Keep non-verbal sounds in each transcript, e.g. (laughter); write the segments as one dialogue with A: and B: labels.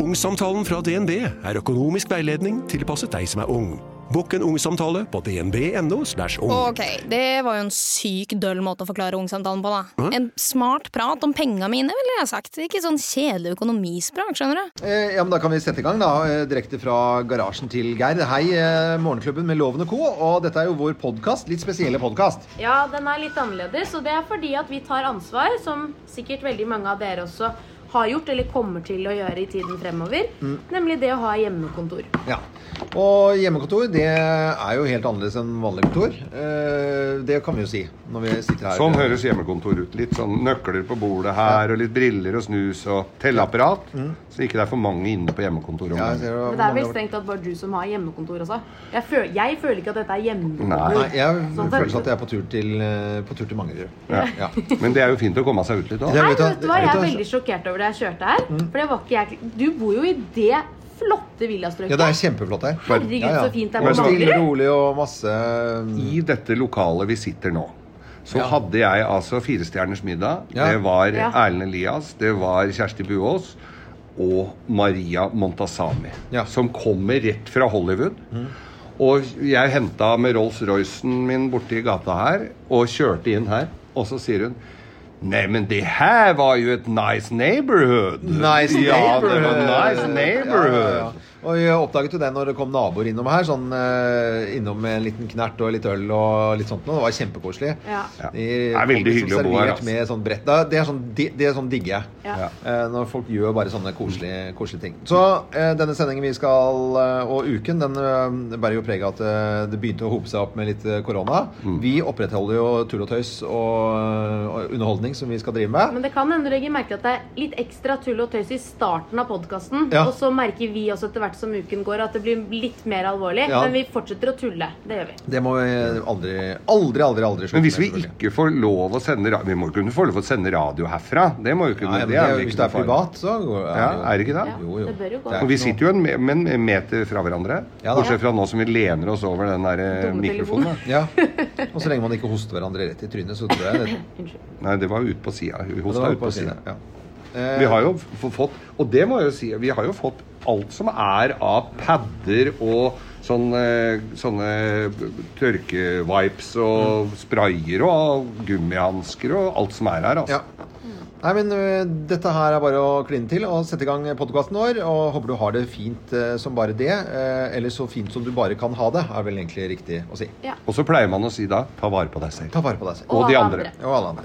A: Ungsamtalen fra DNB er økonomisk veiledning tilpasset deg som er ung. Bokk en ungsamtale på dnb.no. slash ung.
B: Ok, det var jo en syk døll måte å forklare ungsamtalen på, da. En smart prat om penga mine, ville jeg sagt. Ikke sånn kjedelig økonomisprat, skjønner du.
C: Eh, Ja, men Da kan vi sette i gang, da. eh, Direkte fra garasjen til Geir. Hei, eh, Morgenklubben med Loven og Co. Og dette er jo vår podkast. Litt spesielle podkast.
D: Ja, den er litt annerledes, og det er fordi at vi tar ansvar, som sikkert veldig mange av dere også har gjort eller kommer til å gjøre i tiden fremover,
C: Mm.
D: nemlig det å ha hjemmekontor.
C: Ja. Og hjemmekontor, det er jo helt annerledes enn vanlig kontor. Eh, Det kan vi jo si når vi sitter her.
E: Sånn høres hjemmekontor ut. Litt sånn nøkler på bordet her, og litt briller og snus og telleapparat. Så ikke det er for mange inne på hjemmekontoret.
C: Mm.
E: om
C: Ja, jeg
E: gangen.
C: ser jo
D: Men det er vel
C: mange-
D: strengt tatt bare du som har hjemmekontor også. Jeg, føl jeg føler ikke at dette er hjemmekontor.
E: Nei.
C: Nei, jeg
D: Sånn
C: føler
D: føles
C: at jeg er på tur til, eh, på tur til Mangerud.
E: Ja.
C: Ja.
E: Men det er jo fint å komme seg ut litt
C: Det er-
E: òg.
D: Nei,
C: vet du hva-
D: vet du hva, jeg er
C: vet du hva- Mm.
D: veldig sjokkert over det jeg kjørte her. For det var ikke jeg Du bor jo i det flotte
C: Ja, det er
D: villastrøket.
C: kjempeflott her.
D: Herregud,
C: Ja, ja.
D: så fint det er
C: Og
D: på
C: Stille og
D: Magerud.
C: rolig og masse eh,
E: I dette lokalet vi sitter nå, så hadde jeg altså Firestjerners middag.
C: Ja.
E: Det var
D: Ja.
E: Erlend Elias, det var Kjersti Buås og Maria Montazami,
C: Ja. Mm.
E: som kommer rett fra Hollywood. Og jeg henta med Rolls-Roycen min borti gata her og kjørte inn her, og så sier hun Neimen, det her var jo et nice neighborhood.
C: Nice
E: ja, det
C: neighborhood.
E: var nice neighborhood.
C: Ja, ja, ja. Og jeg oppdaget jo det når det kom naboer innom her, sånn eh, innom med en liten knert og litt øl og litt sånt noe. Det var kjempekoselig.
D: Ja.
E: Ja.
C: De
E: Det er veldig
C: kom liksom
E: hyggelig å bo her,
C: servert
E: altså.
C: Med sånn brett. Da- Det er sånn, di- det er sånn digger jeg.
D: Ja.
C: Eh, Når folk gjør bare sånne koselige, koselige ting. Så eh, denne sendingen vi skal eh, Og uken, den eh, bærer jo preg av at eh, det begynte å hope seg opp med litt eh, korona.
E: Mm.
C: Vi opprettholder jo tull og tøys og, eh, og underholdning som vi skal drive med.
D: Men det kan hende du legger merke til at det er litt ekstra tull og tøys i starten av podkasten.
C: Ja.
D: Og så merker vi også etter hvert som uken går at det blir litt mer alvorlig.
C: Ja.
D: Men vi fortsetter å tulle. Det gjør vi.
C: Det må vi aldri, aldri, aldri, aldri slutte
E: Men hvis vi
C: med, selvfølgelig.
E: ikke får lov å sende radio Vi må jo kunne få lov å sende radio herfra. Det må jo kunne
C: Nei, men
E: det
C: det, er-
E: er vel ikke
C: Hvis det er
E: noe farlig.
C: privat, så går-
E: Ja, er det ikke det?
D: Ja,
C: Jo, jo.
D: det bør jo gå.
C: Det er
E: Og vi
C: ikke
E: sitter jo en, me- men en meter fra hverandre.
C: Ja da.
E: bortsett fra nå som vi lener oss over den der eh,
D: Dumme
E: mikrofonen. da.
C: Ja. Og så lenge man ikke hoster hverandre rett i trynet, så tror jeg det.
D: Unnskyld.
E: Nei, det var ute på sida.
C: det
E: Hosta
C: var
E: ut
C: på
E: på
C: siden,
E: sida.
C: ja.
E: Vi har jo f- fått Og det må jeg jo si, vi har jo fått alt som er av padder og sånne, sånne tørkevipes
C: Mm.
E: og sprayer og gummihansker og alt som er her, altså.
C: Ja. Nei, men ø, dette her er bare å kline til og sette i gang podkasten vår. Og håper du har det fint ø, som bare det. ø, Eller så fint som du bare kan ha det, er vel egentlig riktig å si.
D: Ja.
E: Og så pleier man å si da ta vare på deg selv.
C: Ta vare på deg selv.
E: Og de
D: alle
E: andre.
C: Og alle andre.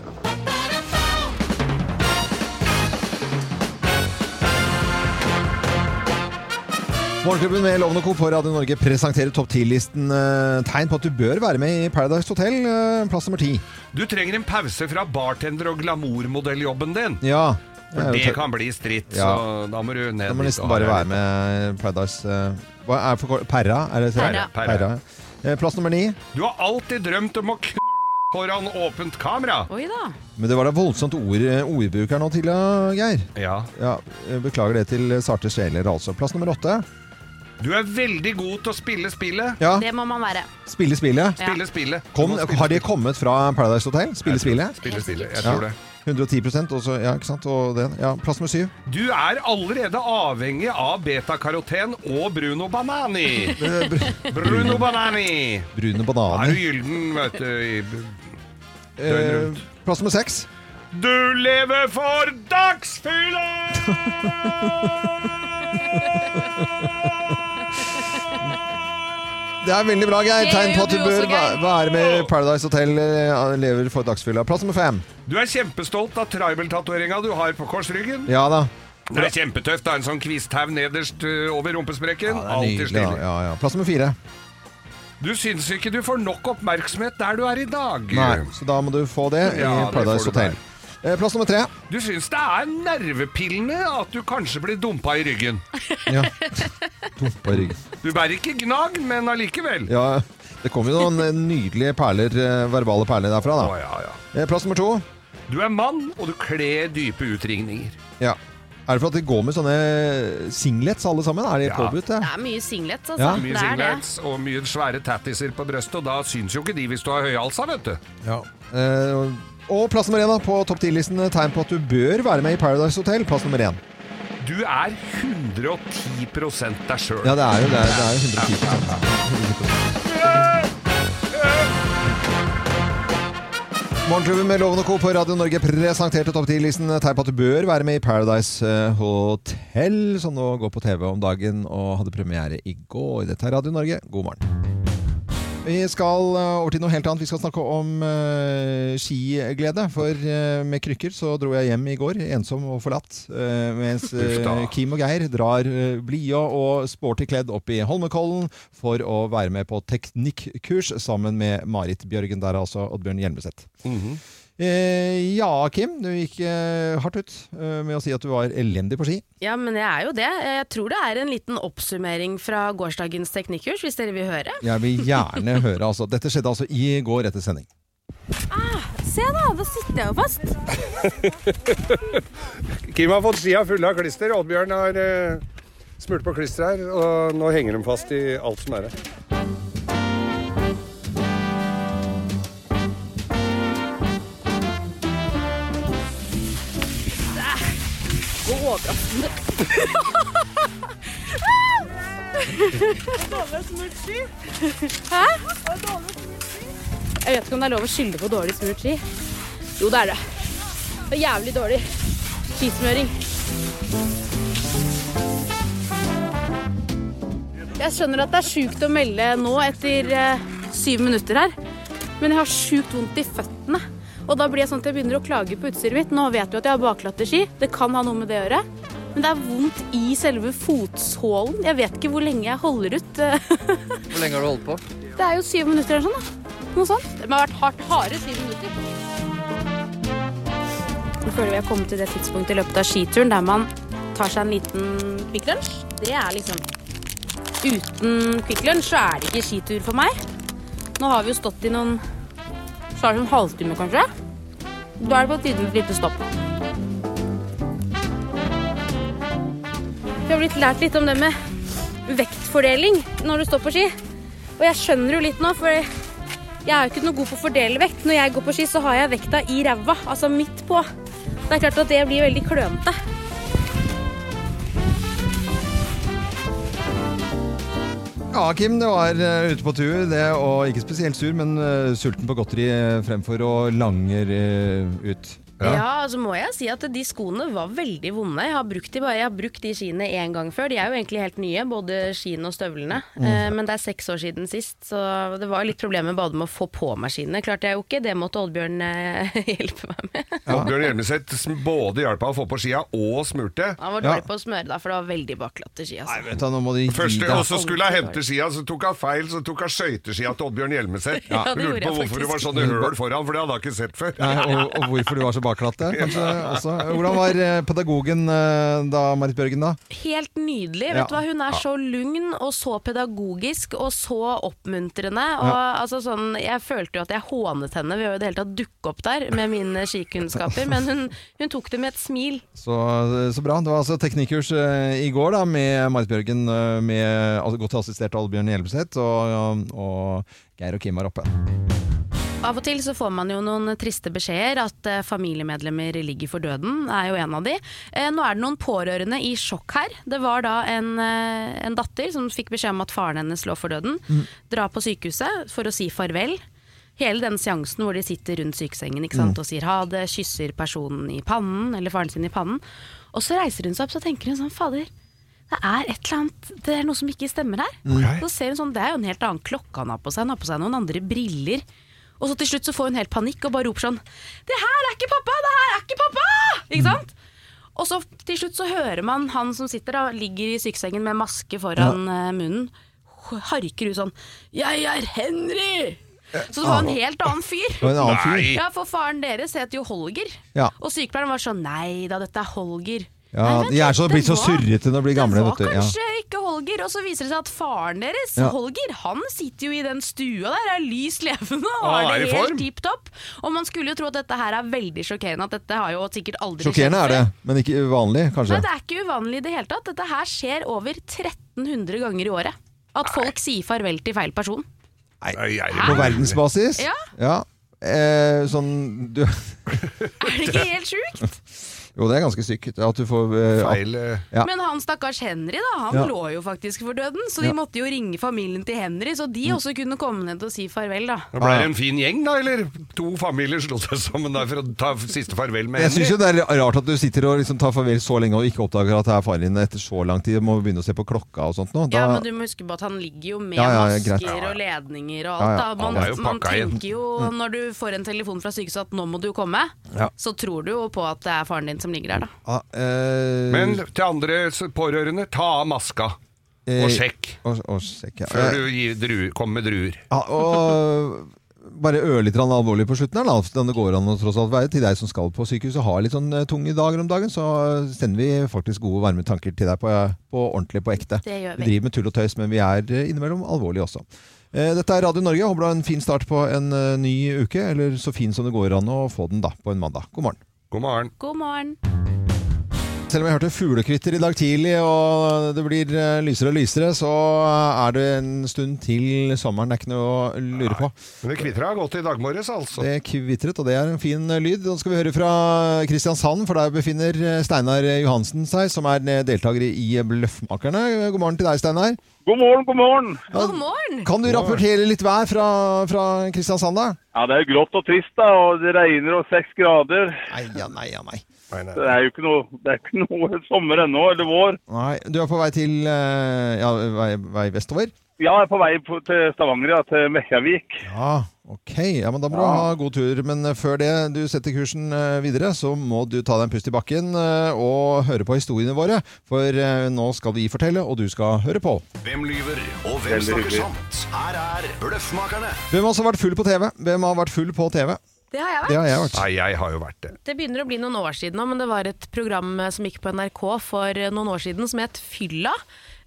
C: Morgenklubben med Loven og Co. på Radio Norge presenterer topp 10-listen eh, tegn på at du bør være med i Paradise Hotel, eh, plass nummer ti.
E: Du trenger en pause fra bartender- og glamourmodelljobben din.
C: Ja.
E: For
C: jeg er jo
E: det
C: tø-
E: kan bli stritt,
C: Ja.
E: så da må du ned
C: Da må
E: dit
C: nesten
E: og
C: bare
E: ha
C: være
E: det.
C: med i Paradise eh, Hva er det for kort? Perra? Er det
E: Perra. Perra.
C: Eh, Plass nummer ni.
E: Du har alltid drømt om å knulle foran åpent kamera.
F: Oi da.
C: Men det var da voldsomt ord, ordbruk her nå til, ja, Geir.
E: Ja.
C: Ja, eh, Beklager det til sarte sjeler, altså. Plass nummer åtte.
E: Du er veldig god til å spille spillet.
C: Ja,
F: Det må man være.
C: spille spillet.
F: Ja.
E: Spille spillet.
C: Kom,
E: Du må spille
C: har det kommet fra Paradise Hotel? Spille spillet?
E: Spille spillet. Jeg
C: Ja.
E: tror det.
C: 110 og så, ja, ikke sant? Og det, ja, plass nummer syv.
E: Du er allerede avhengig av betakaroten og Bruno
C: (laughs)
E: Banani. Bruno Banani.
C: Brune
E: Er du
C: bananer.
E: gylden, vet du. i b-
C: Eh,
E: rundt.
C: plass nummer seks.
E: Du lever for dagsfylla!
C: Det er veldig bra, Geir.
F: Det
C: Tegn
F: gjør
C: på at du
F: du
C: bør
F: også, Geir.
C: væ- være med i Paradise Hotel. eh, Lever for dagsfylla. Plass nummer fem.
E: Du er kjempestolt av tribal-tatoveringa du har på korsryggen.
C: Ja da.
E: Det er kjempetøft. Det er en sånn kvisthau nederst ø, over rumpesprekken.
C: Ja, det er
E: Alltid
C: nydelig. da.
E: stilig.
C: Ja, ja. Plass nummer fire.
E: Du syns ikke du får nok oppmerksomhet der du er i dag.
C: Nei, så da må du få det i
E: Ja, det
C: Paradise
E: får du
C: Hotel. Eh, Plass nummer tre.
E: Du syns det er nervepillende at du kanskje blir dumpa i ryggen. (laughs)
C: Ja. Dumpa i ryggen.
E: Du bærer ikke gnag, men allikevel.
C: Ja, det kom jo noen nydelige perler, eh, verbale perler derfra,
E: Å,
C: da.
E: ja, ja.
C: Eh, Plass nummer to.
E: Du er mann, og du kler dype utringninger.
C: Ja. Er det for at de går med sånne singlets alle sammen? Er det
E: Ja.
C: påbudt, det?
F: Det er mye singlets, altså.
C: Ja.
E: Mye
F: det er det.
E: singlets og mye svære tattiser på brøstet, og da syns jo ikke de hvis du har høyhalsa, vet du.
C: Ja. Eh, og plass nummer én da, på topp 10-listen. Tegn på at du bør være med i Paradise Hotel. Plass nummer én.
E: Du er 110 deg sjøl.
C: Ja, det er jo det. Er, det er jo 110 Morgenklubben med Loven og Co. på Radio Norge presenterte topp 10-listen. Tegn på at du bør være med i Paradise eh, Hotel, som nå går på TV om dagen og hadde premiere i går. Dette er Radio Norge, god morgen. Vi skal eh, over til noe helt annet. Vi skal snakke om eh, skiglede. For eh, med krykker så dro jeg hjem i går, ensom og forlatt. eh, mens eh,
E: (laughs) Uff da.
C: Kim og Geir drar eh, blia og sporty kledd opp i Holmenkollen for å være med på teknikkurs sammen med Marit Bjørgen der, altså. Oddbjørn Hjelmeset.
E: Mhm.
C: eh, ja, Kim. Du gikk eh, hardt ut eh, med å si at du var elendig på ski.
D: Ja, men jeg er jo det. Jeg tror det er en liten oppsummering fra gårsdagens teknikkurs, hvis dere vil høre.
C: Jeg vil gjerne (laughs) høre, altså. Dette skjedde altså i går etter sending.
G: Se da, da sitter jeg jo fast.
E: Kim har fått skia fulle av klister. Oddbjørn har eh, smurt på klister her, og nå henger de fast i alt som er her.
H: Jeg vet ikke om det er lov å skylde på dårlig smurt ski. Jo, det er det. Det er jævlig dårlig skismøring. Jeg skjønner at det er sjukt å melde nå etter eh, syv minutter her, men jeg har sjukt vondt i føttene. Og da blir jeg sånn at jeg begynner å klage på utstyret mitt. Nå vet du at jeg har baklatte ski, det kan ha noe med det å gjøre. Men det er vondt i selve fotsålen. Jeg vet ikke hvor lenge jeg holder ut. eh, (laughs)
I: Hvor lenge har du holdt på?
H: Det er jo syv minutter eller sånn, da. Noe sånt. Det må ha vært hardt harde syv minutter. Nå føler vi jeg har kommet til det tidspunktet i løpet av skituren der man tar seg en liten Kvikk Lunsj. Det er liksom Uten Kvikk Lunsj så er det ikke skitur for meg. Nå har vi jo stått i noen Så er det en halvtime, kanskje. Da er det på tide med et lite stopp. Vi har blitt lært litt om det med vektfordeling når du står på ski. Og jeg skjønner jo litt nå, for jeg er jo ikke noe god på å fordele vekt. Når jeg går på ski, så har jeg vekta i ræva, altså midt på. Det er klart at det blir veldig klønete.
C: Ja, Kim, det var eh, ute på tur, det, og ikke spesielt sur, men eh, sulten på godteri eh, fremfor å langer eh, ut.
D: Ja. altså må jeg si at de skoene var veldig vonde. Jeg har brukt de, bare, jeg har brukt de skiene én gang før. De er jo egentlig helt nye, både skiene og støvlene. Eh, men det er seks år siden sist, så det var jo litt problemer både med å få på meg skiene. Klarte jeg jo ikke, det måtte Oddbjørn eh, (laughs) hjelpe meg med.
E: Oddbjørn Hjelmeset sm- både hjalp han å få på skia og smurte.
D: Han var
C: Ja.
D: dårlig på å smøre da, for det var veldig baklatte ski. Altså.
C: Vet du, nå må de gi
E: Første,
C: deg.
E: og
C: (laughs)
E: så skulle han hente skia, så tok han feil, så tok han skøyteskia til Oddbjørn Hjelmeset.
D: Ja, det
E: Hun lurte
D: gjorde jeg
E: på hvorfor det var
D: faktisk.
E: sånne høl foran, for det hadde han ikke sett før.
C: Nei, og, og hvorfor du var så baklatte, kanskje også. Hvordan var eh, pedagogen eh, da, Marit Bjørgen, da?
D: Helt nydelig.
C: Ja.
D: Vet du hva? Hun er så lugn og så pedagogisk og så oppmuntrende. Og, altså, sånn, jeg følte jo at jeg hånet henne ved å i det hele tatt dukke opp der med mine skikunnskaper, men hun, hun tok det med et smil.
C: Så, så bra. Det var altså teknikkurs eh, i går da, med Marit Bjørgen, eh, med altså, godt assistert av Oddbjørn Hjelmeset, og, og Geir og Kim var oppe.
D: Av og til så får man jo noen triste beskjeder, at eh, familiemedlemmer ligger for døden, er jo en av de. Eh, nå er det noen pårørende i sjokk her. Det var da en, eh, en datter som fikk beskjed om at faren hennes lå for døden. Dra på sykehuset for å si farvel. Hele den seansen hvor de sitter rundt sykesengen ikke sant, og sier ha det, kysser personen i pannen, eller faren sin i pannen. Og så reiser hun seg opp, så tenker hun sånn, fader, det er et eller annet, det er noe som ikke stemmer her. Så ser hun sånn, det er jo en helt annen klokke han har på seg, han har på seg noen andre briller. Og så til slutt så får hun helt panikk og bare roper sånn, det her er ikke pappa, det her er ikke pappa! Ikke sant? Og så til slutt så hører man han som sitter da, ligger i sykesengen med maske foran eh, munnen, harker ut sånn, jeg er Henry! Så det var en helt annen fyr.
C: Det var en annen fyr.
D: Ja, for faren deres heter jo Holger.
C: Ja.
D: Og sykepleieren var sånn Nei da, dette er Holger.
C: Ja,
D: Nei, vent
C: de er
D: litt,
C: så,
D: det
C: blitt så
D: var-
C: surrete når de blir gamle.
D: Det var
C: vet du. Ja.
D: kanskje ikke Holger, og så viser det seg at faren deres,
C: Ja.
D: Holger, han sitter jo i den stua der, er lys levende og
E: Ah,
D: har
E: er
D: det
E: i form?
D: helt tipp topp. Og man skulle jo tro at dette her er veldig sjokkerende, at dette har jo sikkert aldri
C: Sjokkerende er det, men ikke uvanlig, kanskje.
D: Nei, det er ikke uvanlig i det hele tatt. Dette her skjer over 1300 ganger i året. At folk sier farvel til feil person.
E: Nei, jeg-
C: På verdensbasis?
D: Ja.
C: Eh, sånn du,
D: Er det ikke helt sjukt?
C: Jo, det er ganske sykt at du får eh, at-
E: Feil eh,
C: Ja.
D: Men han stakkars Henry, da, han
C: Ja.
D: lå jo faktisk for døden, så de
C: Ja. Mm.
D: måtte jo ringe familien til Henry, så de også kunne komme ned og si farvel, da.
E: Da ble det en fin gjeng, da, eller? To familier slo seg sammen der for å ta siste farvel med
C: Jeg syns jo
E: Henry.
C: det er rart at du sitter og liksom tar farvel så lenge og ikke oppdager at det er faren din etter så lang tid. Må begynne å se på klokka og sånt nå. Da,
D: Ja, men du må huske på at han ligger jo med
C: Ja, ja, ja, greit.
D: masker og ledninger og alt.
C: Ja, ja.
D: Da. Man,
E: Han er jo
D: man
E: pakka igjen.
D: tenker jo når du får en telefon fra sykehuset at 'nå må du komme',
C: Ja.
D: så tror du jo på at det er faren din som ligger der, da.
C: Ah, eh,
E: Men til andre s- pårørende, ta av maska
C: eh,
E: og sjekk
C: Og, og sjekk, ja. eh.
E: før du gir dru, kommer med druer.
C: Ja, og bare ørlite grann alvorlig på slutten her, da. Den det går an å tross alt være. Til deg som skal på sykehuset og har litt sånn eh, tunge dager om dagen, så eh, sender vi faktisk gode, varme tanker til deg på, eh, på ordentlig, på ekte.
D: Det gjør vi.
C: driver med tull og tøys, men vi er eh, innimellom alvorlige også. Eh, Dette er Radio Norge. Jeg Håper du har en fin start på en eh, ny uke, eller så fin som det går an å få den da, på en mandag. God morgen.
E: God morgen.
D: God morgen.
C: Selv om jeg hørte fuglekvitter i dag tidlig, og det blir eh, lysere og lysere, så eh, er det en stund til sommeren. Det er ikke noe å lure på.
E: Men det kvitter har gått i dag morges, altså.
C: Det kvitret, og det er en fin eh, lyd. Nå skal vi høre fra Kristiansand, for der befinner eh, Steinar Johansen seg, som er eh, deltaker i eh, Bløffmakerne. God morgen til deg, Steinar.
J: God morgen, god morgen.
D: God morgen!
C: Kan du rapportere litt vær fra, fra Kristiansand, da?
J: Ja, det er jo grått og trist, da, og det regner og seks grader.
C: Nei, ja, nei, ja, nei.
E: Nei, nei.
J: Det er jo ikke noe, det er
K: (laughs)
J: ikke noe sommer ennå, eller vår.
C: Nei, Du er på vei til eh, ja, vei, vei vestover?
J: Ja, jeg er på vei på, til Stavanger, ja, til Mekkjarvik.
C: Ja, ok. Ja, men Da må du ha god tur. Men eh, før det, du setter kursen eh, videre, så må du ta deg en pust i bakken eh, og høre på historiene våre. For eh, nå skal vi fortelle, og du skal høre på.
L: Hvem lyver, og hvem
J: Veldig
L: snakker
J: hyggelig.
L: sant? Her er Bløffmakerne.
C: Hvem har også vært full på TV? Hvem har vært full på TV?
D: Det har jeg vært.
C: Det har jeg vært.
E: Nei, jeg har jo vært det.
D: Det begynner å bli noen år siden nå, men det var et program eh, som gikk på NRK for eh, noen år siden som het Fylla.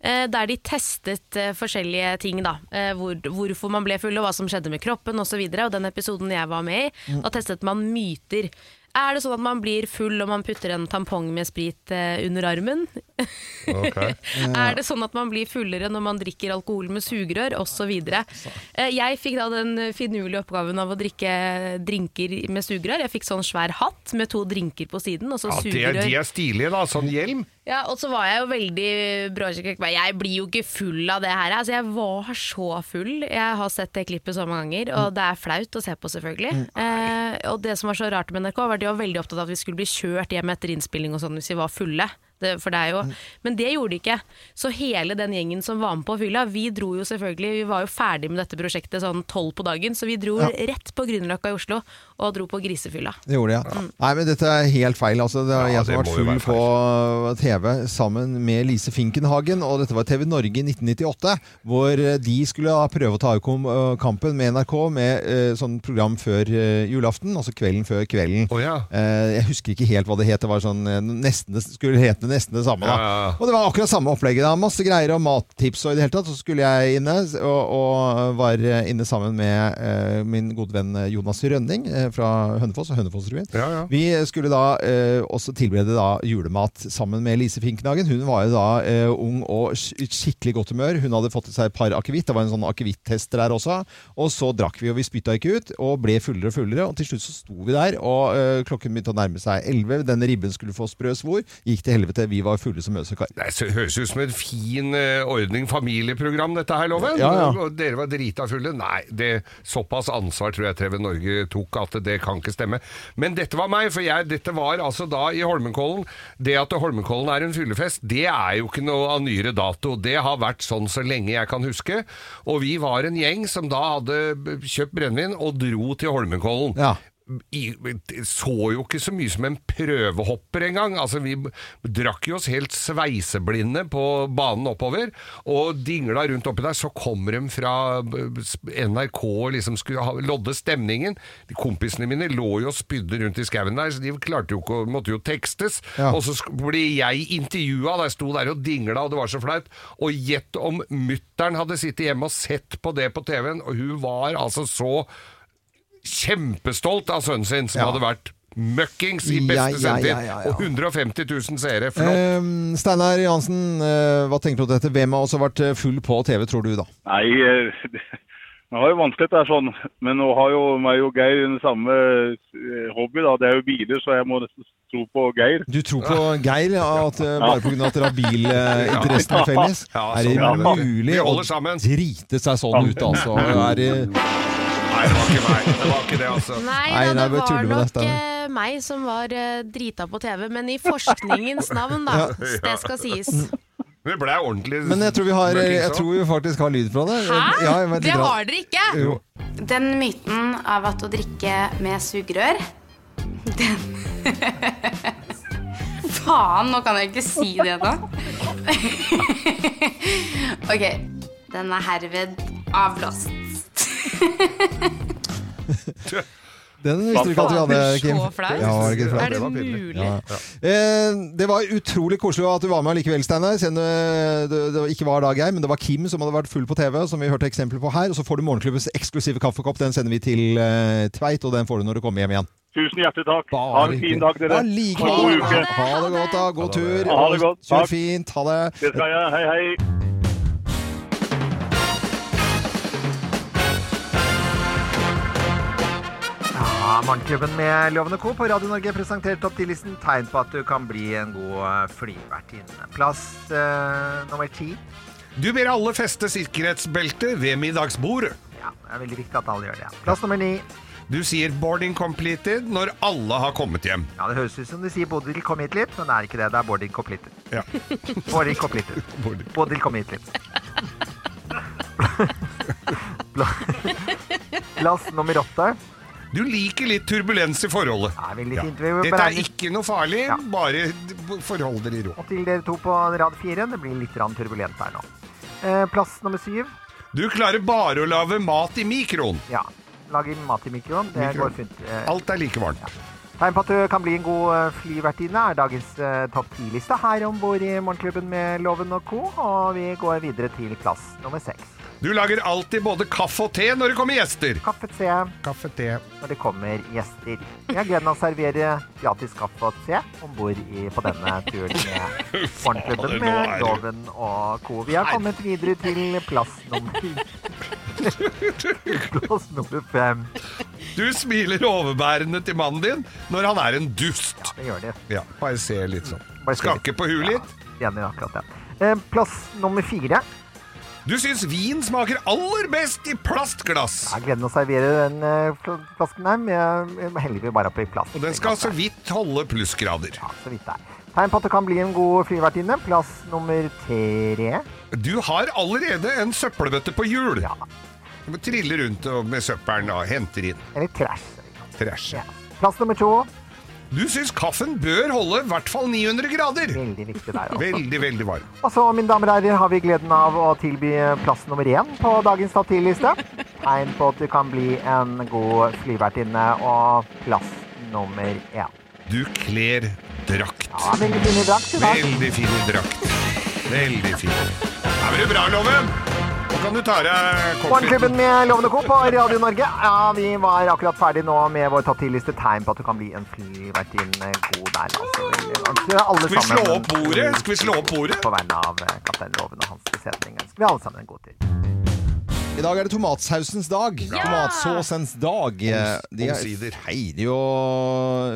D: eh, Der de testet eh, forskjellige ting, da. Eh, Hvor, hvorfor man ble full, og hva som skjedde med kroppen osv. Og, og den episoden jeg var med i, da testet man myter. Er det sånn at man blir full og man putter en tampong med sprit eh, under armen? (laughs) Er det sånn at man blir fullere når man drikker alkohol med sugerør osv.? Eh, Jeg fikk da den finurlige oppgaven av å drikke drinker med sugerør. Jeg fikk sånn svær hatt med to drinker på siden, og så
E: Ja, de, er,
D: sugerør.
E: de er stilige, da. Sånn hjelm.
D: Ja, og så var jeg jo veldig bråkjekk. Jeg blir jo ikke full av det her. Altså, jeg var så full. Jeg har sett det klippet så mange ganger, og det er flaut å se på, selvfølgelig. Eh, og det som var så rart med NRK, var at de var veldig opptatt av at vi skulle bli kjørt hjem etter innspilling og sånn hvis vi var fulle. Det, for det er jo, men det gjorde de ikke. Så hele den gjengen som var med på fylla, vi dro jo selvfølgelig Vi var jo ferdig med dette prosjektet sånn tolv på dagen, så vi dro
C: Ja.
D: rett på Grünerløkka i Oslo og dro på grisefylla.
C: Det gjorde jeg. Nei, men dette er helt feil. Altså, det er
E: Mm. Ja,
C: jeg som
E: det
C: har vært
E: må jo
C: full
E: være
C: på TV sammen med Lise Finkenhagen, og dette var TV Norge i 1998, hvor eh, de skulle da prøve å ta ut kom- eh, kampen med NRK med eh, sånn program før eh, julaften, altså kvelden før kvelden.
E: Å ja.
C: Eh, jeg husker ikke helt hva det het. Det var sånn, eh, nesten, det skulle hete nesten det samme. Da.
E: Ja, ja, ja.
C: Og det var akkurat samme opplegget. Da. Masse greier og mattips og i det hele tatt. Så skulle jeg inne, og, og var inne sammen med eh, min gode venn Jonas Rønning eh, fra Hønefoss og Hønefossrevyen.
E: Ja, ja.
C: Vi skulle da eh, også tilberede da, julemat sammen med Lise Finknagen. Hun var jo da eh, ung og sk- i skikkelig godt humør. Hun hadde fått i seg et par akevitt. Det var en sånn akevitt-tester der også. Og så drakk vi, og vi spytta ikke ut, og ble fullere og fullere. Og til slutt så sto vi der, og eh, klokken begynte å nærme seg elleve. Den ribben skulle få sprø svor. Gikk til helvete. Vi var fulle som øsekar.
E: Det er- høres ut som en fin eh, ordning familieprogram, dette her, Loven.
C: Ja, ja.
E: Og dere var drita fulle. Nei, det, såpass ansvar tror jeg TV Norge tok at det kan ikke stemme. Men dette var meg, for jeg, dette var altså da i Holmenkollen. Det at Holmenkollen er en fyllefest, det er jo ikke noe av nyere dato. Det har vært sånn så lenge jeg kan huske. Og vi var en gjeng som da hadde b- kjøpt brennevin og dro til Holmenkollen
C: Ja.
E: i, så jo ikke så mye som en prøvehopper engang. Altså, vi drakk jo oss helt sveiseblinde på banen oppover, og dingla rundt oppi der. Så kommer de fra NRK og liksom skulle ha, lodde stemningen. De kompisene mine lå jo og spydde rundt i skauen der, så de klarte jo ikke å Måtte jo tekstes.
C: Ja.
E: Og så sk- ble jeg intervjua, da jeg sto der og dingla, og det var så flaut. Og gjett om mutter'n hadde sittet hjemme og sett på det på TV-en, og hun var altså så kjempestolt av sønnen sin, som
C: Ja.
E: hadde vært møkkings i
C: Ja, ja,
E: beste sendetid.
C: ja, ja, ja.
E: Og 150 000 seere. Flott.
C: Eh, Steinar
K: (laughs)
C: Johansen, eh, hva tenker du om dette? Hvem har også vært eh, full på TV, tror du, da?
J: Nei, eh,
K: Det har jo vanskelig det er sånn, men nå har jo meg og Geir den samme eh, hobby. da. Det er jo biler, så jeg må nesten tro på Geir.
C: Du tror på Geir, ja, at, eh, bare pga. at dere har bilinteressene felles?
K: Ja,
C: Er
K: sånn er
C: det
K: det.
C: mulig
K: Vi
C: å
K: holder sammen.
C: drite seg sånn ut, altså? Er det
E: Nei, det var ikke meg. Det var ikke det, altså.
D: Nei,
C: Nei,
D: da,
C: nei,
D: det
C: bare
D: var
C: tuller med
D: nok
C: dette.
D: eh, meg som var eh, drita på TV, men i forskningens
C: (laughs)
D: navn, da.
E: Ja.
D: Det skal sies.
E: Vi ble ordentlig
C: Men jeg tror vi, har, jeg tror vi faktisk har lyd fra det. Ja, jeg vet litt grann.
D: Ah, dere ikke!
C: Jo.
D: Den myten av at å drikke med sugerør Den Faen, nå kan jeg ikke si det da. (laughs) ok. Den er herved avblåst.
C: Den visste du ikke at vi hadde,
D: Faen,
C: Kim.
D: så flaut.
C: Ja, var det ikke flaut?
D: Er det mulig?
C: Ja. Eh, det var utrolig koselig at du var med allikevel, Steinar. Selv om eh, det, det ikke var Dag Geir, men det var Kim som hadde vært full på TV, som vi hørte eksempler på her. Og så får du Morgenklubbens eksklusive kaffekopp. Den sender vi til eh, Tveit, og den får du når du kommer hjem igjen.
K: Tusen hjertelig takk. Ha en fin dag, dere.
C: Ja, like
K: Og god uke.
C: Ha det godt, da. God tur.
K: Ha det godt.
C: Kjør
K: Takk.
C: fint. Ha det.
K: Det skal jeg. Hei, hei.
M: Ja, Morgenklubben med Lovende Co. på Radio Norge presenterte topp 10-listen tegn på at du kan bli en god eh, flyvertinne. Plass eh, nummer ti.
E: Du ber alle feste sikkerhetsbelte ved middagsbordet.
M: Ja, det er veldig viktig at alle gjør det. Plass nummer ni.
E: Du sier 'boarding completed' når alle har kommet hjem.
M: Ja, Det høres ut som de sier 'Bodil, kom hit litt', men det er ikke det. Det er boarding completed. (laughs)
E: Ja.
M: Boarding completed. Bodil, kom hit litt. Plass nummer åtte.
E: Du liker litt turbulens i forholdet. Ja.
M: intervju-
E: Dette er
M: beregnet-
E: ikke noe farlig,
M: Ja.
E: bare d- forhold dere i ro.
M: Og til dere to på rad fire. Det blir litt rann turbulent her nå. Eh, Plass nummer syv.
E: Du klarer bare å lage mat i mikroen.
M: Ja. Lage mat i mikroen. Det
E: Mikroen.
M: går fint. Eh,
E: Alt er like varmt.
M: Tegn på at du kan bli en god eh, flyvertinne er dagens eh, topp ti-liste her om bord i Morgenklubben med Loven og co. Og vi går videre til plass nummer seks.
E: Du lager alltid både kaffe og te når det kommer gjester.
M: Kaffe, te.
E: Kaffe, te.
M: Når det kommer gjester. Jeg har gleden av å servere gratis kaffe og te om bord på denne turen med Morgenklubben
E: Fader, nå
M: med
E: er det-
M: Loven og co. Vi har kommet videre til plass
E: (laughs)
M: nummer Plass nummer fem.
E: Du smiler overbærende til mannen din når han er en dust. Ja,
M: det gjør det.
E: Ja, bare se litt sånn.
M: Bare se litt.
E: Skakke på huet litt.
M: Enig i akkurat det. Eh, Plass nummer fire.
E: Du syns vin smaker aller best i plastglass.
M: Jeg har gleden av å servere den eh, fl- flasken her, men jeg heller vi bare oppi plast.
E: Og den skal så vidt holde plussgrader.
M: Så vidt det er. Tegn på at du kan bli en god flyvertinne. Plass nummer tre.
E: Du har allerede en søppelbøtte på hjul. Du må trille rundt og- med søppelen og henter inn.
M: Eller trash.
E: Trash.
M: Plass nummer to.
E: Du syns kaffen bør holde i hvert fall 900 grader.
M: Veldig viktig der altså. også.
E: Veldig, veldig varm.
M: Og så, mine damer og herrer, har vi gleden av å tilby eh, plass nummer én på dagens stativliste. Tegn på at du kan bli en god flyvertinne. Og plass nummer én.
E: Du kler drakt.
M: Ja, veldig fin i drakt i dag.
E: Veldig fin i drakt. Veldig fin. Da blir det bra, Loven. Nå kan du ta deg
M: Morgenklubben
E: koppen.
M: med Lovende Co. på Radio Norge. Ja, vi var akkurat ferdig nå med vår topp 10-liste. Tegn på at du kan bli en flyvertinne god der. Altså, altså, alle
E: Skal vi
M: sammen-
E: slå opp bordet? Skal vi slå opp bordet?
M: På vegne av eh, kaptein Loven og hans besetning ønsker vi alle sammen en god tur.
C: I dag er det tomatsausens dag. Tomatsausens dag. Eh,
M: Oms-
C: De
M: omsider.
C: feirer jo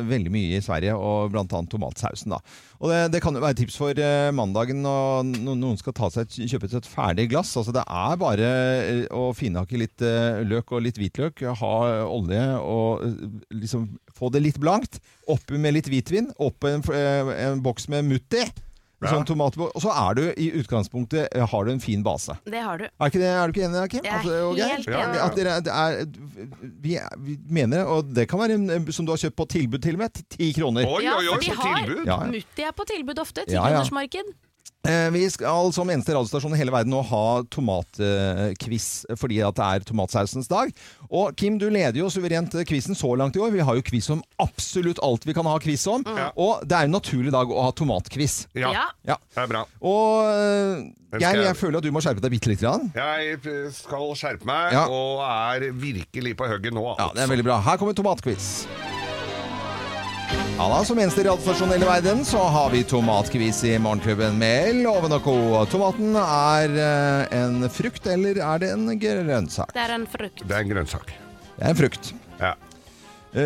C: veldig mye i Sverige, og blant annet tomatsausen. da. Og Det, det kan jo være tips for eh, mandagen når no- noen skal ta seg, et- kjøpe seg et ferdig glass. Altså Det er bare eh, å finhakke litt eh, løk og litt hvitløk, ha olje og eh, liksom få det litt blankt. Oppi med litt hvitvin, oppi en, f- eh, en boks med mutti.
D: Ja.
C: Sånn tomatbo- og så er du i utgangspunktet eh, har du en fin base.
D: Mm, Det har du.
C: Er, ikke det, er du ikke enig, Kim?
D: Jeg er
C: At- og Geir?
D: helt enig.
C: At dere, det er, vi, er- vi mener det, og det kan være en som du har kjøpt på tilbud til og med, til ti kroner.
D: ja, for de har
C: Ja, ja.
D: Mutti er på tilbud ofte.
C: Ja, ja.
D: Tikronersmarked.
C: Eh, Vi skal som eneste radiostasjon i hele verden nå ha tomatquiz, fordi at det er tomatsausens dag. Og Kim, du leder jo suverent quizen så langt i år. Vi har jo quiz om absolutt alt vi kan ha quiz om. Og det er en naturlig dag å ha tomatquiz.
E: Ja. Ja. Det er bra.
C: Og eh,
E: Den skal
C: Geir,
E: jeg-
C: jeg føler at du må skjerpe deg bitte lite grann.
E: Jeg skal skjerpe meg,
C: Ja.
E: og er virkelig på hugget nå.
C: Ja, det er veldig bra. Her kommer tomatquiz. Ja da, Som eneste radiostasjon i hele verden så har vi tomatquiz i Morgenklubben med Loven og co. Tomaten er eh, en frukt, eller er det en grønnsak?
D: Det er en frukt.
E: Det er en grønnsak.
C: Det er en frukt. Eh,
E: Ja.
C: (laughs)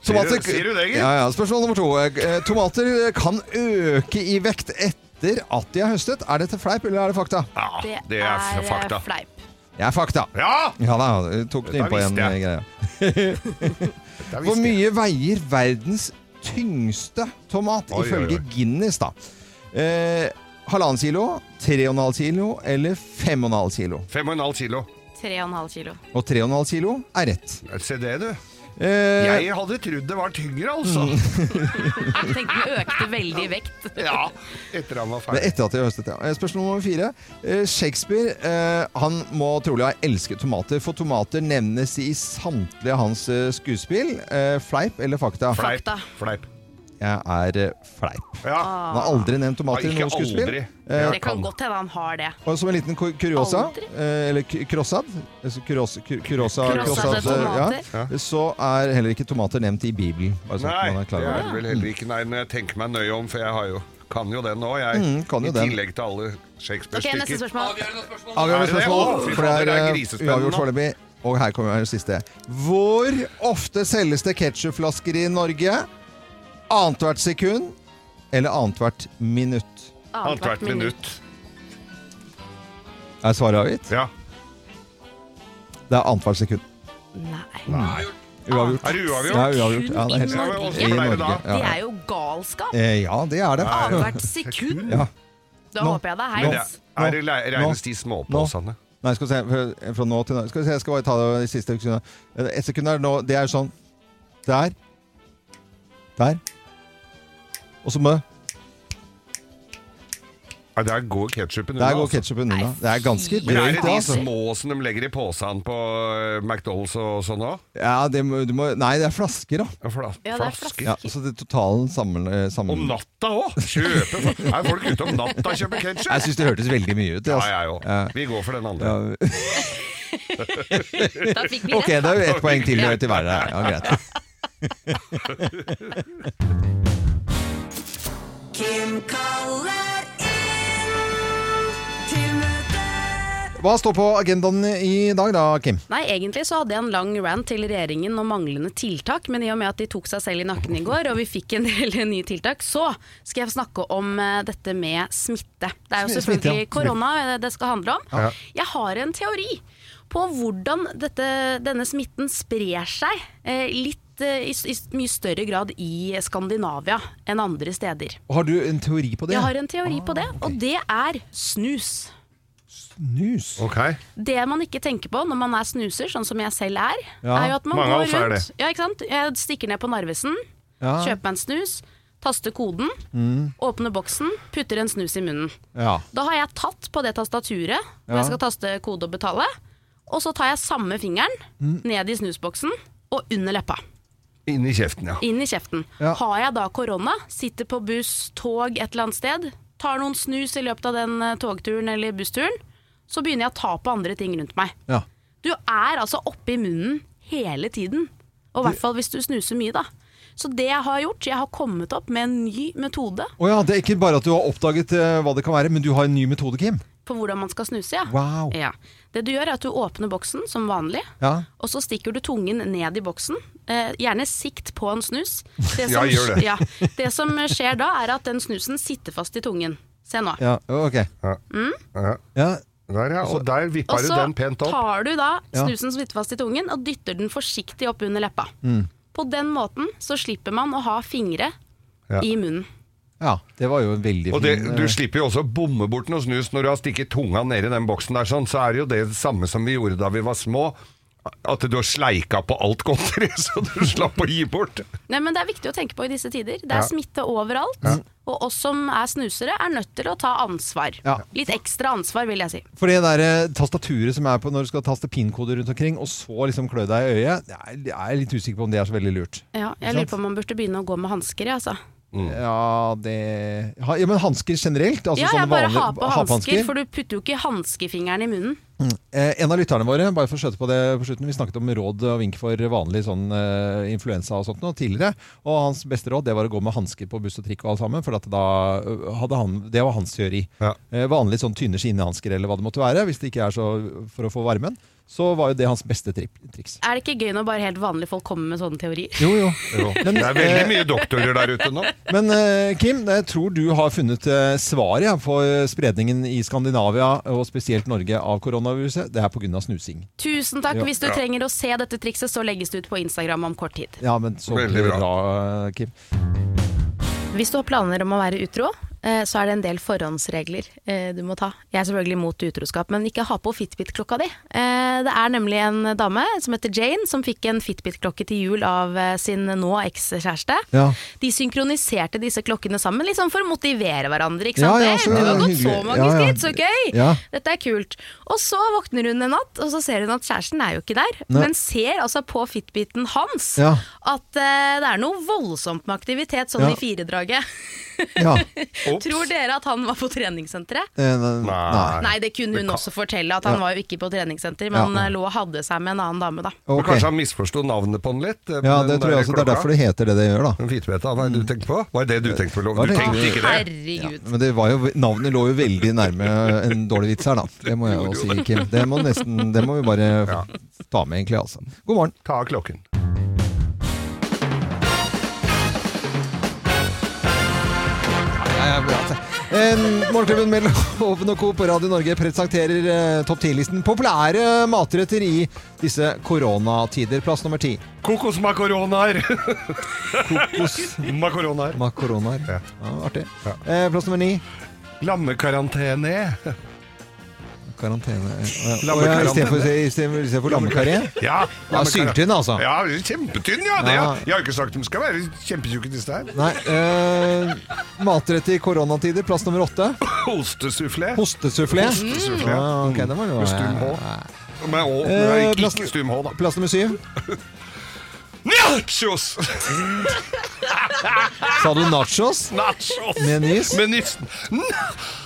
C: tomater,
E: Sier du- sier du det, Geir?
C: Ja, ja, spørsmål nummer to. Eh, Tomater kan øke i vekt etter at de er høstet. Er dette fleip, eller er det fakta?
E: Ja, det er f- fakta.
D: eh, fleip.
C: Det er fakta.
E: Ja!
C: da, jeg tok det
E: Dette
C: innpå igjen.
E: visste jeg.
C: greia. Hvor mye veier verdens tyngste tomat,
E: Oi, oi,
C: ifølge
E: oi.
C: Guinness, da? Eh, Halvannen kilo, tre og en halv kilo eller fem og en halv kilo?
E: 5,5 kilo.
D: 3,5 kilo.
C: Og tre og en halv kilo er rett.
E: Se det, du.
C: Eh, Mm.
E: Jeg hadde trodd det var tyngre, altså.
D: Jeg tenkte Ah, den økte veldig i vekt.
E: (laughs) Ja, etter han var
C: Det er
E: ferdig.
C: etter at de har høstet, ja. Eh, Spørsmål nummer fire. Eh, Shakespeare eh, han må trolig ha elsket tomater, for tomater nevnes i samtlige hans eh, skuespill. Eh, fleip eller fakta?
E: Fleip. Fleip.
C: Jeg er eh, fleip.
E: Ja.
C: Han har aldri nevnt tomater i
E: Ikke
C: noe skuespill.
E: aldri.
C: Eh,
D: Ah. Det kan godt hende han har det.
C: og som en liten ku- kuriosa,
D: Aldri.
C: eh, eller ku- krossad altså kuros- ku- Kurosa
D: Krossade
C: krossad, eh,
D: tomater.
C: ja, Så er heller ikke tomater nevnt i Bibelen. Bare sånn at
E: Nei,
C: man er
E: det
C: klar over
E: er det vel heller ikke. Nei, men jeg tenker meg nøye om, for jeg har jo kan jo den nå, jeg.
C: Mm, kan jo
E: I
C: den.
E: tillegg til alle
D: Ok,
E: Shakespeare-stykker.
D: neste spørsmål.
C: Avgjørende spørsmål,
E: Å, fy
C: for det
E: fader,
C: er
E: det er
C: eh,
E: grisespennende.
C: uavgjort foreløpig. Og her kommer det siste. Hvor ofte selges det ketsjupflasker i Norge? Annethvert sekund eller annethvert minutt?
E: Alt hvert minutt.
C: Er svaret avgitt?
E: Ja.
C: Det er annethvert sekund.
D: Nei.
C: Uavgjort.
E: Er det uavgjort?
C: Ja, uavgjort. Ja, det er helt riktig.
D: I Norge.
C: I Norge.
D: Det
C: Ja.
D: er jo galskap.
C: Eh, ja, det er det.
D: Annethvert sekund.
C: Ja.
D: Da
C: Nå-
D: håper jeg det
C: nå-
D: er heis.
E: Er det le- regnes de småpåsene?
C: Nei, skal vi se, fra- fra nå til nå Skal vi se, jeg skal bare ta det de siste sekundene. Et sekund er nå, det er sånn Der. Der. Og så må
E: Ja, der går ketsjupen
C: Der går ketsjupen unna. Det er ganske
E: Men er
C: drøyt, det,
E: det de
C: altså.
E: små som de legger i posen på eh, McDonald's og sånn òg?
C: Ja, det må, du må, nei, det er flasker, da.
E: Ja, det er flasker.
C: Ja, så det er totalen sammen... eh, sammen.
E: Om natta òg! Er folk ute om natta og kjøper ketsjup?
C: Jeg syns det hørtes veldig mye ut.
E: Ja,
C: altså.
E: jeg òg. Vi går for den andre.
C: Ja.
E: Da fikk vi
C: Ok,
E: rett,
C: da er
E: da.
C: jo ett poeng til
E: Ja.
C: til hver. der. Ja, greit.
N: Kim kaller inn til møte.
C: Hva står på agendaen i dag da, Kim?
D: Nei, egentlig så hadde jeg en lang rant til regjeringen om manglende tiltak, men i og med at de tok seg selv i nakken i går, og vi fikk en del (laughs) nye tiltak, så skal jeg snakke om eh, dette med smitte. Det er jo
O: Smitte,
D: selvfølgelig
O: ja.
D: korona eh, det skal handle om.
O: Ja.
D: Jeg har en teori på hvordan dette, denne smitten sprer seg eh, litt eh, i, s- i s- mye større grad i Skandinavia enn andre steder.
C: Har du en teori på det?
D: Jeg har en teori på det, og det er snus.
C: Snus.
D: Det man ikke tenker på når man er snuser, sånn som jeg selv er,
C: Ja,
D: er jo at man
C: mange av
D: går
C: oss er
D: rundt
C: det.
D: ja, ikke sant? Jeg stikker ned på Narvesen,
C: Ja.
D: kjøper meg en snus, taster koden,
C: Mm.
D: åpner boksen, putter en snus i munnen.
C: Ja.
D: Da har jeg tatt på det tastaturet hvor
C: Ja.
D: jeg skal taste kode og betale, og så tar jeg samme fingeren
C: Mm.
D: ned i snusboksen og under leppa.
E: Inn i kjeften, ja.
D: Inn i kjeften. Har jeg da korona, sitter på buss, tog et eller annet sted, tar noen snus i løpet av den eh, togturen eller bussturen, så begynner jeg å ta på andre ting rundt meg.
C: Ja.
D: Du er altså oppi munnen hele tiden. Og i hvert fall hvis du snuser mye, da. Så det jeg har gjort, jeg har kommet opp med en ny metode
C: Å ja, det er ikke bare at du har oppdaget eh, hva det kan være, men du har en ny metode, Kim.
D: på hvordan man skal snuse. Ja.
C: Wow.
D: Ja. Det du gjør, er at du åpner boksen som vanlig,
C: Ja.
D: og så stikker du tungen ned i boksen. Eh, gjerne sikt på en
C: (laughs)
D: snus. Det
C: Ja, gjør det.
D: (laughs) Ja, det som skjer da, er at den snusen sitter fast i tungen. Se nå.
C: Ja, ok.
D: Mm?
C: Ja.
E: Der, ja. Og der
D: Og
E: vippa du
D: så
E: den pent opp.
D: tar du da
E: Ja.
D: snusen som sitter fast i tungen, og dytter den forsiktig opp under leppa.
C: Mm.
D: På den måten så slipper man å ha fingre
E: Ja.
D: i munnen.
C: Ja, det var jo en veldig
E: Og det,
C: fin, eh,
E: du slipper jo også å bomme bort noe snus når du har stikket tunga ned i den boksen der, sånn, så er det jo det samme som vi gjorde da vi var små. At du har sleika på alt godteri, (laughs) så du slapp å gi bort.
D: Nei, men Det er viktig å tenke på i disse tider. Det
E: Ja.
D: er smitte overalt.
E: Ja.
D: Og oss som er snusere, er nødt til å ta ansvar.
C: Ja.
D: Litt ekstra ansvar, vil jeg si.
C: For det der eh, tastaturet som er på når du skal taste pin-koder rundt omkring, og så liksom klø deg i øyet, jeg er, jeg er litt usikker på om det er så veldig lurt.
D: Ja,
C: Ikke
D: jeg
C: sant?
D: lurer på om man burde begynne å gå med hansker, jeg, altså.
C: Ja, det ha, Ja, men hansker generelt? Altså
D: ja,
C: sånne
D: jeg bare
C: vanlige
D: har på hansker, for du putter jo ikke hanskefingeren i munnen.
C: Eh, en av lytterne våre, bare for å skjøte på det på slutten, vi snakket om råd og vink for vanlig sånn eh, influensa og sånt noe tidligere. Og hans beste råd det var å gå med hansker på buss og trikk og alt sammen. For at da eh, hadde han, det var hans teori. Eh, vanlig sånn tynne skinnehansker eller hva det måtte være, hvis det ikke er så for å få varmen. Så var jo det hans beste tri triks.
D: Er det ikke gøy når bare helt vanlige folk kommer med sånne teorier?
C: Jo, jo. Men,
E: det er veldig
C: eh,
E: mye doktorer der ute
C: (laughs)
E: nå.
C: Men eh, Kim, jeg tror du har funnet eh, svaret ja, for eh, spredningen i Skandinavia, og spesielt Norge, av koronaviruset. Det er pga. snusing.
D: Tusen
C: Ja.
D: takk. Hvis du
C: Ja.
D: trenger å se dette trikset, så legges det ut på Instagram om kort tid.
C: Ja, men så
E: Veldig
C: bra. bra, eh, Kim.
D: Hvis du har planer om å være utro, eh, så er det en del forhåndsregler eh, du må ta. Jeg er selvfølgelig mot utroskap, men ikke ha på Fitbit-klokka di. Eh, Det er nemlig en dame som heter Jane, som fikk en Fitbit-klokke til jul av eh, sin nå ekskjæreste.
N: Ja.
D: De synkroniserte disse klokkene sammen liksom for å motivere hverandre. Ikke
N: Ja,
D: sant?
N: ja, så
D: «Hey, du har gått
N: hyggelig.
D: så mange
N: Ja, ja.
D: skritt, så gøy!
N: Ja.
D: Dette er kult. Og så våkner hun en natt, og så ser hun at kjæresten er jo ikke der,
N: Nei.
D: men ser altså på Fitbiten hans
N: Ja.
D: at eh, det er noe voldsomt med aktivitet sånn
C: Ja.
D: i firedraget. (laughs)
C: Ja.
D: Tror dere at han var på treningssenteret?
C: (laughs) Eh, ne-
D: Nei, det kunne hun også fortelle, at han
E: Ja.
D: var jo ikke på treningssenter,
E: Ja.
D: men eh, lå og hadde seg med en annen dame, da.
E: Men
C: Ok.
E: Kanskje han misforsto navnet på den litt? eh,
C: Ja,
E: på
C: det tror
E: den der
C: jeg også. Det er
E: klokka.
C: derfor det heter det det gjør, da.
E: En fitbeta, hva er det du tenker på? Hva er det du tenker på, Lov?
C: Hva
E: Du
C: tenkte
E: tenkte
C: du?
E: ikke det?
D: Herregud.
C: Men det var jo, navnet lå jo veldig nærme eh, en dårlig vits her, da. Det må jeg jo si, Kim. Det må, nesten, det må vi bare ta med, egentlig. altså. God morgen.
E: Ta klokken.
C: Eh, Morgenklubben med Loven og Co. på Radio Norge presenterer eh, topp 10-listen populære matretter i disse koronatider. Plass nummer ti.
E: Kokosmakaronaer.
C: (laughs) Kokosmakaronaer. Makaronaer. Ja. artig. Eh, plass nummer ni.
E: Lammekarantene.
C: Karantene eh, å ja,
E: Lammekarantene.
C: Istedenfor i stedet for- i stedet for lammekaré?
E: Ja,
C: Ja, syltynn, altså.
E: Ja, kjempetynn, ja. Det,
C: Ja.
E: Jeg har ikke sagt de skal være kjempetjukke, disse her.
C: Nei. Eh, matrett i koronatider. Plass nummer åtte.
E: Hostesufflé.
C: Hostesufflé.
E: Hostesufflé.
C: Ah, ok, det var noe.
E: Med stum H. Med Å, men
C: Eh,
E: ikke-
C: plass-
E: ikke stum H, da.
C: Plass nummer syv. (laughs)
E: Nachos!
C: Sa du nachos?
E: Nachos.
C: Menys?
E: Menys.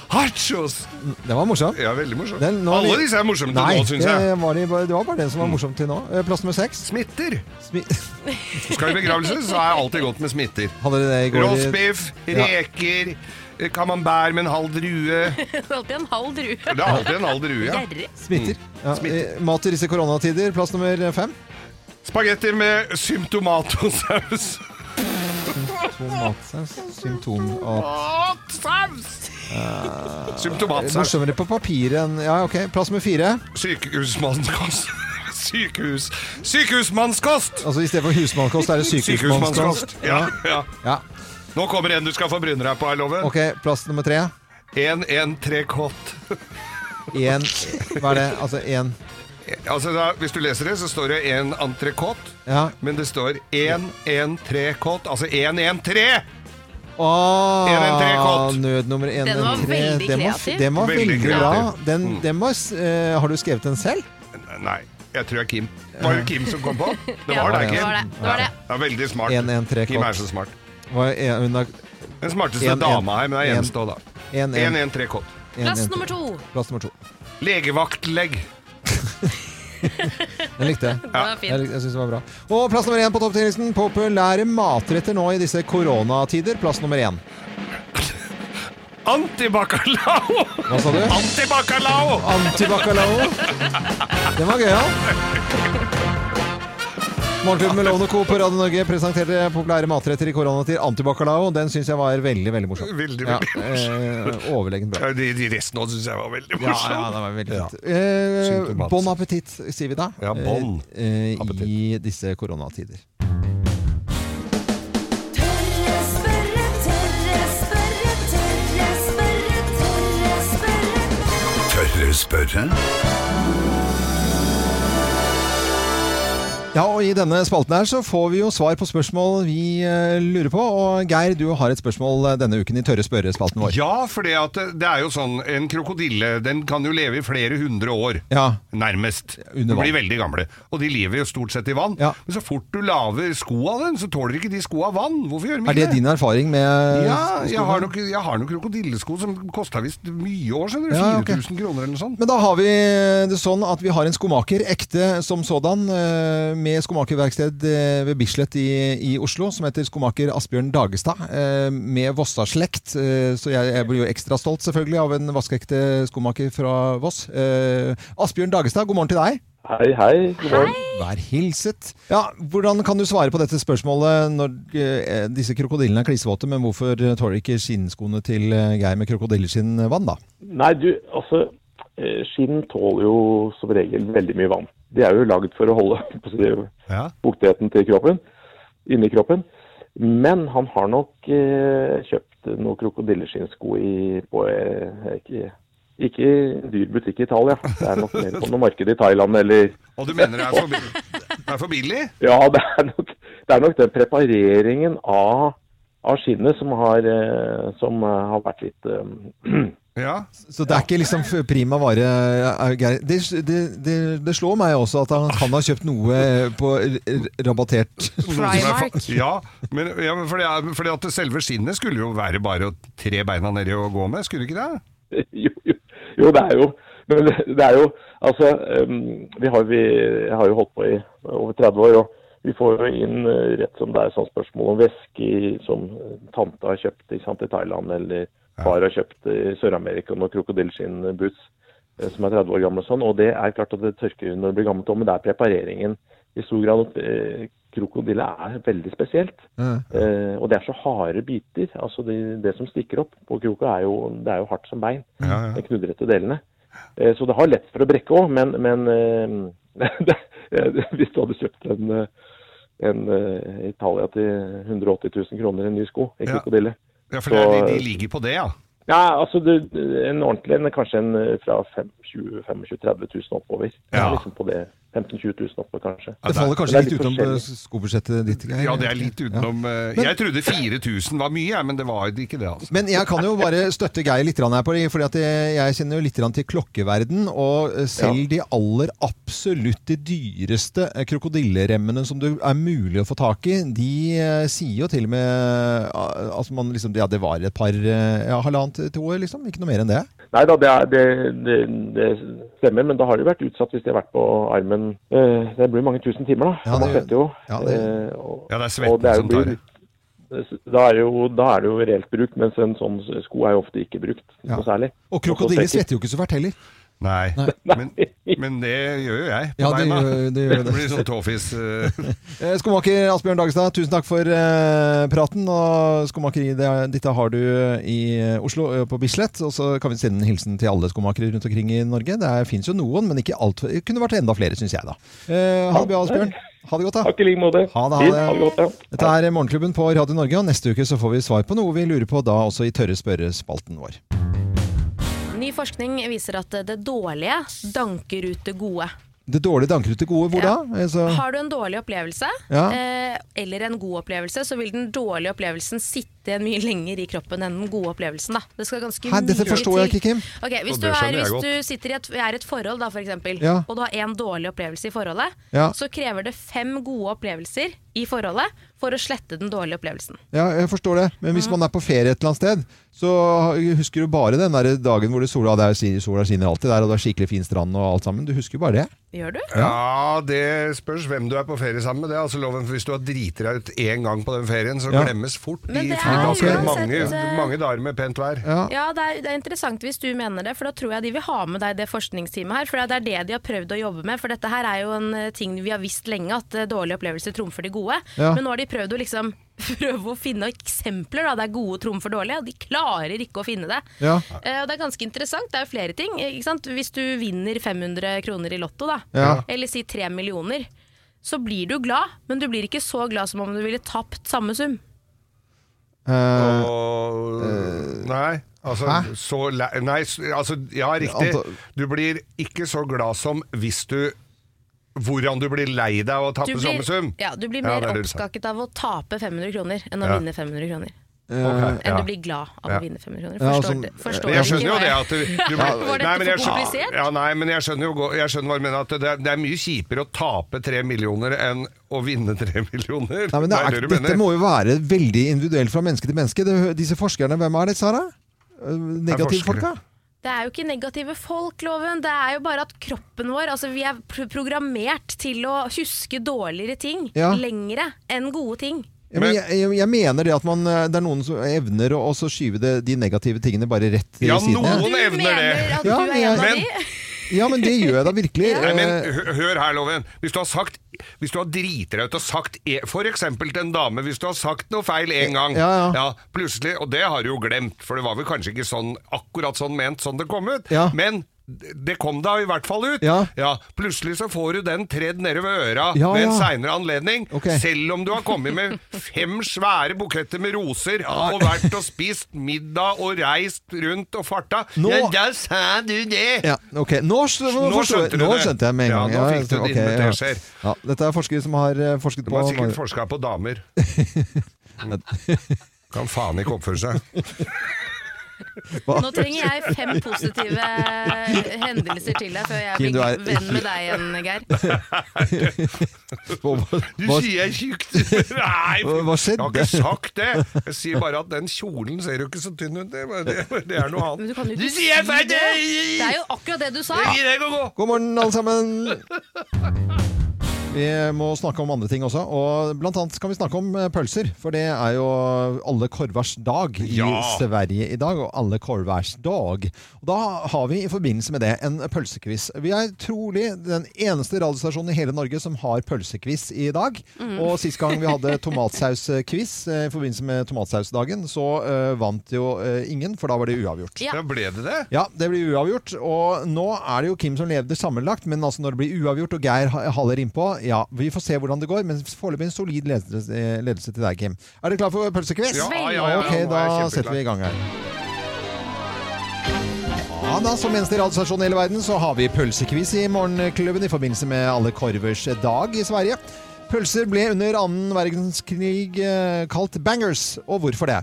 E: Nachos!
C: Det var morsomt.
E: Ja, veldig morsomt.
C: Den- nå-
E: Alle disse er morsomme til
C: Nei, eh,
E: nå, syns jeg.
C: Det var, de, bare- det var bare den som var morsom til nå. Eh, Plass nummer seks.
E: Smitter.
C: Smi (laughs)
E: Skal i begravelse, så er alltid godt med smitter.
C: Hadde dere det i går?
E: Rostbiff,
C: Ja.
E: reker, eh, camembert med en halv drue.
D: Det er alltid en halv drue.
E: Det er alltid en halv drue, ja.
D: Gjerrig.
C: Smitter. Ja, eh, Mat i disse koronatider. Plass nummer fem.
E: Spagetti med symptomatosaus.
C: Symptomatsaus. Symptom... og-
E: Matsaus! Ah.
C: Eh,
E: Symptomatsaus.
C: Morsommere på papiret enn Ja, ok. Plass nummer fire.
E: Sykehusmannskost. Sykehus. Sykehusmannskost!
C: Altså I stedet for husmannskost er det (laughs) sykehusmannskost.
E: Ja, ja.
C: Ja.
E: Nå kommer en du skal få bryne deg på, er loven.
C: Ok, Plass nummer tre.
E: 113 kott.
C: Én Hva er det? Altså én
E: Altså da, Hvis du leser det, så står det en entrecôte,
C: Ja.
E: men det står 113 kott. Altså 113!
C: Ah,
E: 113 kott.
C: nødnummer 113.
E: Den var veldig
C: Den var-
E: kreativ.
C: Den var
E: Veldig
C: veldig bra.
E: kreativ.
C: Den, den var, s- eh, har du skrevet den selv?
E: Nei, jeg tror det er Kim. Var det Kim som kom
C: (laughs)
E: på? Det var
C: Eh. Ja,
E: deg, Kim.
C: det var det. Det var det.
E: Ja, veldig smart.
C: 113
E: Kim
C: kott.
E: er så smart.
C: Hva er- hun har-
E: Den smarteste
C: En- en-
E: dama her, men det er
C: en-
E: eneste også, da.
C: en- en-
E: 113 kott.
C: en-
D: Plass
C: en-
D: nummer to.
C: Plass nummer to.
E: Legevaktlegg.
C: Den likte
D: (laughs)
C: jeg.
E: Den var fin.
C: Jeg, lik- jeg synes den var bra. Og plass nummer én på topp 10-listen. Populære matretter nå i disse koronatider. Plass nummer én.
E: Antibacalao!
C: Hva sa du?
E: Antibacalao!
D: (laughs)
C: Antibacalao? Den var gøyal. Morgenklubben med Lovende Co. på Radio Norge presenterte populære matretter i koronatid. Antibacalao. Den syns jeg var veldig, veldig morsom.
E: Veldig,
C: Ja,
E: veldig
C: eh, Overlegent bra.
E: Ja, De, de resten òg syns jeg var veldig
C: Ja,
E: morsomme.
C: ja, det var veldig
E: Ja.
C: fint. Eh,
E: Symptomat.
C: bon appétit, sier vi da.
E: Ja, bon
C: eh, eh, I disse koronatider.
N: Spørre, tørre, spørre, tørre, spørre, tørre, spørre.
P: Tørre spørre?
C: Ja, og I denne spalten her så får vi jo svar på spørsmål vi eh, lurer på. Og Geir, du har et spørsmål eh, denne uken i Tørre spørrespalten vår.
E: Ja, for det, at det er jo sånn En krokodille den kan jo leve i flere hundre år. Nærmest. De
C: under vann.
E: blir veldig gamle. Og de lever jo stort sett i vann. Men så fort du laver sko av den, så tåler ikke de skoa vann. Hvorfor gjør de
C: Er
E: ikke
C: det din erfaring med
E: Ja, jeg har, nok, jeg har nok krokodillesko som kosta visst mye år, skjønner du.
C: Ja, ok.
E: 4000 kroner eller noe sånt.
C: Sånn. Men da har vi det sånn at vi har en skomaker, ekte som sådan, eh, med skomakerverksted eh, ved Bislett i, i Oslo, som heter skomaker Asbjørn Dagestad, eh, med Vossa-slekt. eh, Så jeg, jeg blir jo ekstra stolt, selvfølgelig, av en vaskeekte skomaker fra Voss. Eh, Asbjørn Dagestad, god morgen til deg.
J: Hei, hei. God morgen.
C: Vær hilset. Ja, hvordan kan du svare på dette spørsmålet når eh, disse krokodillene er klissvåte, men hvorfor tåler ikke skinnskoene til eh, Geir med krokodilleskinn vann, da?
J: Nei, du, altså eh, Skinn tåler jo som regel veldig mye vann. De er jo lagd for å holde (laughs) på å si, fuktigheten til kroppen, inni kroppen. Men han har nok eh, kjøpt noen krokodilleskinnsko i- på eh, ikke, ikke en dyr butikk i Italia. Det er nok mer på noe marked i Thailand eller
E: Og du mener det er for billig? Det er for billig?
J: Ja, (laughs) det er nok, det er nok den prepareringen av, av skinnet som har, eh, som eh, har vært litt eh, (laughs)
C: Så det er ikke liksom f- prima vare eh, Geir. Det, det, det, det slår meg også at han kan ha kjøpt noe eh, på r- r- rabattert
E: Noe som Ah. er fa- Ja, men, ja, men fordi, fordi at selve skinnet skulle jo være bare å tre beina nedi og gå med, skulle det ikke det?
J: jo, jo, jo, det er jo men det, det er jo Altså, ehm, vi har, vi, jeg har jo holdt på i over 30 år, og vi får jo inn eh, rett som det er sånn spørsmål om væske i- som eh, tante har kjøpt ikke sant, i Thailand, eller far har kjøpt i Sør-Amerika, noen krokodilleskinnboots eh, som er 30 år gamle og sånn. Og det er klart at det tørker når det blir gammelt òg, men det er prepareringen i stor grad. Eh, Krokodille er veldig spesielt. Eh, og det er så harde biter. altså Det, det som stikker opp på kroka, er jo, det er jo hardt som bein. De knudrete delene. Eh, så det har lett for å brekke òg, men, men eh, det, (laughs) hvis du hadde kjøpt en, eh, en eh, Italia til 180 000 kroner, en ny sko, en krokodille
E: Ja, for det er, de, de ligger på det, ja.
J: ja, altså du, en ordentlig en, kanskje en eh, fra 25 000, 25 000, 30 000 oppover. Det er Liksom på det 15 000-20 000 oppover, kanskje.
C: (laughs) Det faller kanskje
J: Men
C: litt
J: det er
C: utenom eh,
J: forskjellig.
C: skobudsjettet ditt, Geir.
E: Ja, det er litt utenom eh, Jeg trodde 4000 var mye, jeg, men det var ikke det, altså.
C: Men jeg kan jo bare støtte Geir litt grann her, på det, fordi at jeg jeg kjenner jo litt grann til klokkeverden, og eh, selv de aller absolutt de dyreste eh, krokodilleremmene som det er mulig å få tak i, de eh, sier jo til og med eh, altså man liksom, ja, det var et par, eh, ja, halvannet til år, liksom, ikke noe mer enn det.
J: Nei da, det, er- det, det, det stemmer, men da har de vært utsatt hvis de har vært på armen. Eh, Det blir mange tusen timer, da.
C: Ja,
J: man
C: det-
J: svetter jo.
C: ja, det-
J: Eh, og-
E: Ja, det er
J: og
E: svetten
J: jo
E: som tar
J: blir- Da er, det jo, da er det jo reelt brukt, mens en sånn sko er jo ofte ikke brukt
C: Ja.
J: noe særlig.
C: Og krokodiller svetter jo ikke så fælt heller.
E: Nei. Men, men det gjør jo jeg. På
C: Ja, det
E: beina.
C: gjør- det gjør det.
E: blir sånn tåfis. eh.
C: Eh, Skomaker Asbjørn Dagestad, tusen takk for eh, praten. Og skomakeriet det- ditt har du i eh, Oslo, eh, på Bislett. Og så kan vi sende en hilsen til alle skomakere rundt omkring i Norge. Det fins jo noen, men ikke alt. Det kunne vært enda flere, syns jeg, da. Eh, ha det bra, Asbjørn. Ha det godt, da.
J: Takk i like måte.
C: Ha det,
J: Fint, ha
C: ha
J: det godt, ja.
C: det. Dette er Morgenklubben på Radio Norge, og neste uke så får vi svar på noe vi lurer på, da også i Tørre spørrespalten vår.
D: Ny forskning viser at det dårlige danker ut det gode.
C: Det dårlige danker ut det gode. Hvor da? Altså,
D: Har du en dårlig opplevelse,
C: Ja.
D: eh, eller en god opplevelse, så vil den dårlige opplevelsen sitte mye lenger i kroppen enn den gode opplevelsen. Da. Det skal ganske
C: Hæ, dette
D: mye
C: forstår jeg
D: til.
C: ikke, Kim.
D: Ok, hvis
C: Og
D: du,
C: det skjønner
D: er,
C: jeg
D: hvis
C: godt.
D: du sitter i et, er i et forhold, da, for eksempel,
C: Ja.
D: og du har en dårlig opplevelse i forholdet,
C: Ja.
D: så krever det fem gode opplevelser i forholdet for å slette den dårlige opplevelsen.
C: Ja, jeg forstår det. Men hvis man er på ferie et eller annet sted, så husker du bare den der dagen hvor det sola, det er, si- sola skinner alltid der, og det er skikkelig fin strand og alt sammen. Du husker jo bare det.
D: Gjør du?
E: Ja, det spørs hvem du er på ferie sammen med. Det er altså loven for Hvis du har driti deg ut én gang på den ferien, så
C: Ja.
E: glemmes fort
D: Men
E: de
D: det er
E: flyplassene.
D: uansett,
E: mange,
D: eh,
E: mange dager med pent vær.
D: Ja, det er, det er interessant hvis du mener det, for da tror jeg de vil ha med deg det forskningsteamet her. For det er det de har prøvd å jobbe med. For dette her er jo en eh, ting vi har visst lenge, at eh, dårlige opplevelser trumfer de gode.
N: Ja.
D: Men nå har de prøvd å liksom (laughs) prøve å finne eksempler da, der gode trumfer dårlige, og de klarer ikke å finne det.
N: Ja.
D: Eh, og det er ganske interessant. Det er jo flere ting. eh, Ikke sant? Hvis du vinner 500 kroner i Lotto, da,
N: Ja.
D: eller si 3 millioner, så blir du glad, men du blir ikke så glad som om du ville tapt samme sum.
C: Eh,
E: Og, nei, altså,
C: Hæ?
E: så, læ- nei, s- altså Ja, riktig.
C: Anta-
E: Du blir ikke så glad som hvis du Hvordan du blir lei deg av å tape
D: Du blir-
E: samme sum?
D: Ja, du blir
E: Ja,
D: mer
E: det er det du sa.
D: oppskaket av å tape 500 kroner enn å
E: Ja.
D: vinne 500 kroner.
E: Ok,
D: Enn
E: ja.
D: du blir glad av
E: Ja.
D: å vinne 500 kroner.
E: Ja,
D: Forstår,
E: altså,
D: det- forstår
E: men jeg
D: ikke
E: skjønner jo
D: hva
E: det
D: jeg- (laughs)
E: at du, du
D: Ja, Var dette
E: Nei, men jeg
D: for
E: skjønner-
D: komplisert?
E: Ja, nei, men jeg skjønner jo go- jeg skjønner hva du mener. At det, er- det er mye kjipere å tape tre millioner enn å vinne tre millioner.
C: Nei, men det
E: det
C: er,
E: du
C: dette
E: mener.
C: må jo være veldig individuelt fra menneske til menneske. Det, disse forskerne, hvem er det, Sara? Eh, Negative
E: forskere.
C: folka?
D: Det er jo ikke negative folk, loven. Det er jo bare at kroppen vår altså Vi er pro programmert til å huske dårligere ting
C: Ja.
D: lengre enn gode ting.
C: Ja, men jeg, jeg, jeg mener det at man, eh, det er noen som evner å også skyve det, de negative tingene bare rett til
E: Ja,
C: siden.
E: noen evner det.
C: Ja, men, ja, men det gjør jeg da virkelig.
E: Nei, men
C: Eh,
E: hø- hør her, Loven. Hvis du har sagt Hvis du har driti deg ut og sagt e- For eksempel til en dame, hvis du har sagt noe feil en gang,
C: Eh, Ja, ja.
E: plutselig Og det har du jo glemt, for det var vel kanskje ikke sånn akkurat sånn ment sånn det kom ut.
C: Ja.
E: Men d- det kom da i hvert fall ut.
C: Ja.
E: Plutselig så får du den tredd nede ved øra
C: Ja,
E: ved en
C: ja.
E: seinere anledning.
C: Ok.
E: Selv om du har kommet med fem svære buketter med roser og vært og spist middag og reist rundt og farta.
C: Nå-
E: Ja, da sa du det!
C: Ja, ok. Nå, s- forstår jeg-
E: skjønte du
C: nå
E: det.
C: skjønte jeg med en
E: Ja,
C: gang.
E: nå fikk du
C: så-
E: det
C: ok,
E: inn med
C: ja.
E: teskjeer.
C: Ja, dette er forskere som har eh, forsket
E: De
C: på
E: har sikkert forska på (laughs) damer. Kan faen ikke oppføre seg.
C: Hva?
D: Nå trenger jeg fem positive hendelser til deg før jeg
C: Kim, du
D: blir
C: er-
D: venn med deg igjen, Geir.
E: Du sier jeg er tjukk!
C: (laughs)
E: Nei!
C: Hva- hva skjedde?
E: Jeg har ikke sagt det! Jeg sier bare at den kjolen ser jo ikke så tynn ut. Det, er- det, det er
D: (laughs)
E: noe
D: Men
E: annet.
D: du kan jo
E: Du
D: ikke
E: sier jeg er
D: si
E: feit!
D: det! Det er jo akkurat det du sa!
E: Jeg gir deg å gå!
C: God morgen, alle sammen. Vi må snakke om andre ting også, og blant annet kan vi snakke om eh, pølser. For det er jo alle korvers dag i
N: Ja.
C: Sverige i dag, og alle korvers dag. Og da har vi i forbindelse med det en pølsequiz. Vi er trolig den eneste radiostasjonen i hele Norge som har pølsequiz i dag.
N: Mm.
C: Og sist gang vi hadde tomatsausquiz eh, i forbindelse med tomatsausdagen, så eh, vant jo eh, ingen, for da var det uavgjort.
E: Ja, ble det det?
C: Ja, det blir uavgjort. Og nå er det jo Kim som leder sammenlagt, men altså når det blir uavgjort og Geir ha- haller innpå Ja, vi får se hvordan det går, men foreløpig en solid ledelse, eh, ledelse til deg, Kim. Er dere klar for pølsekviss?
N: Ja, ja, ja, ja, nå er
C: ok,
N: jeg
C: da
N: kjempeklar.
C: setter vi i gang her. Ja da, Som eneste radiostasjon i hele verden så har vi pølsekviss i morgenklubben i forbindelse med alle korvers dag i Sverige. Pølser ble under annen verdenskrig eh, kalt bangers. Og hvorfor det?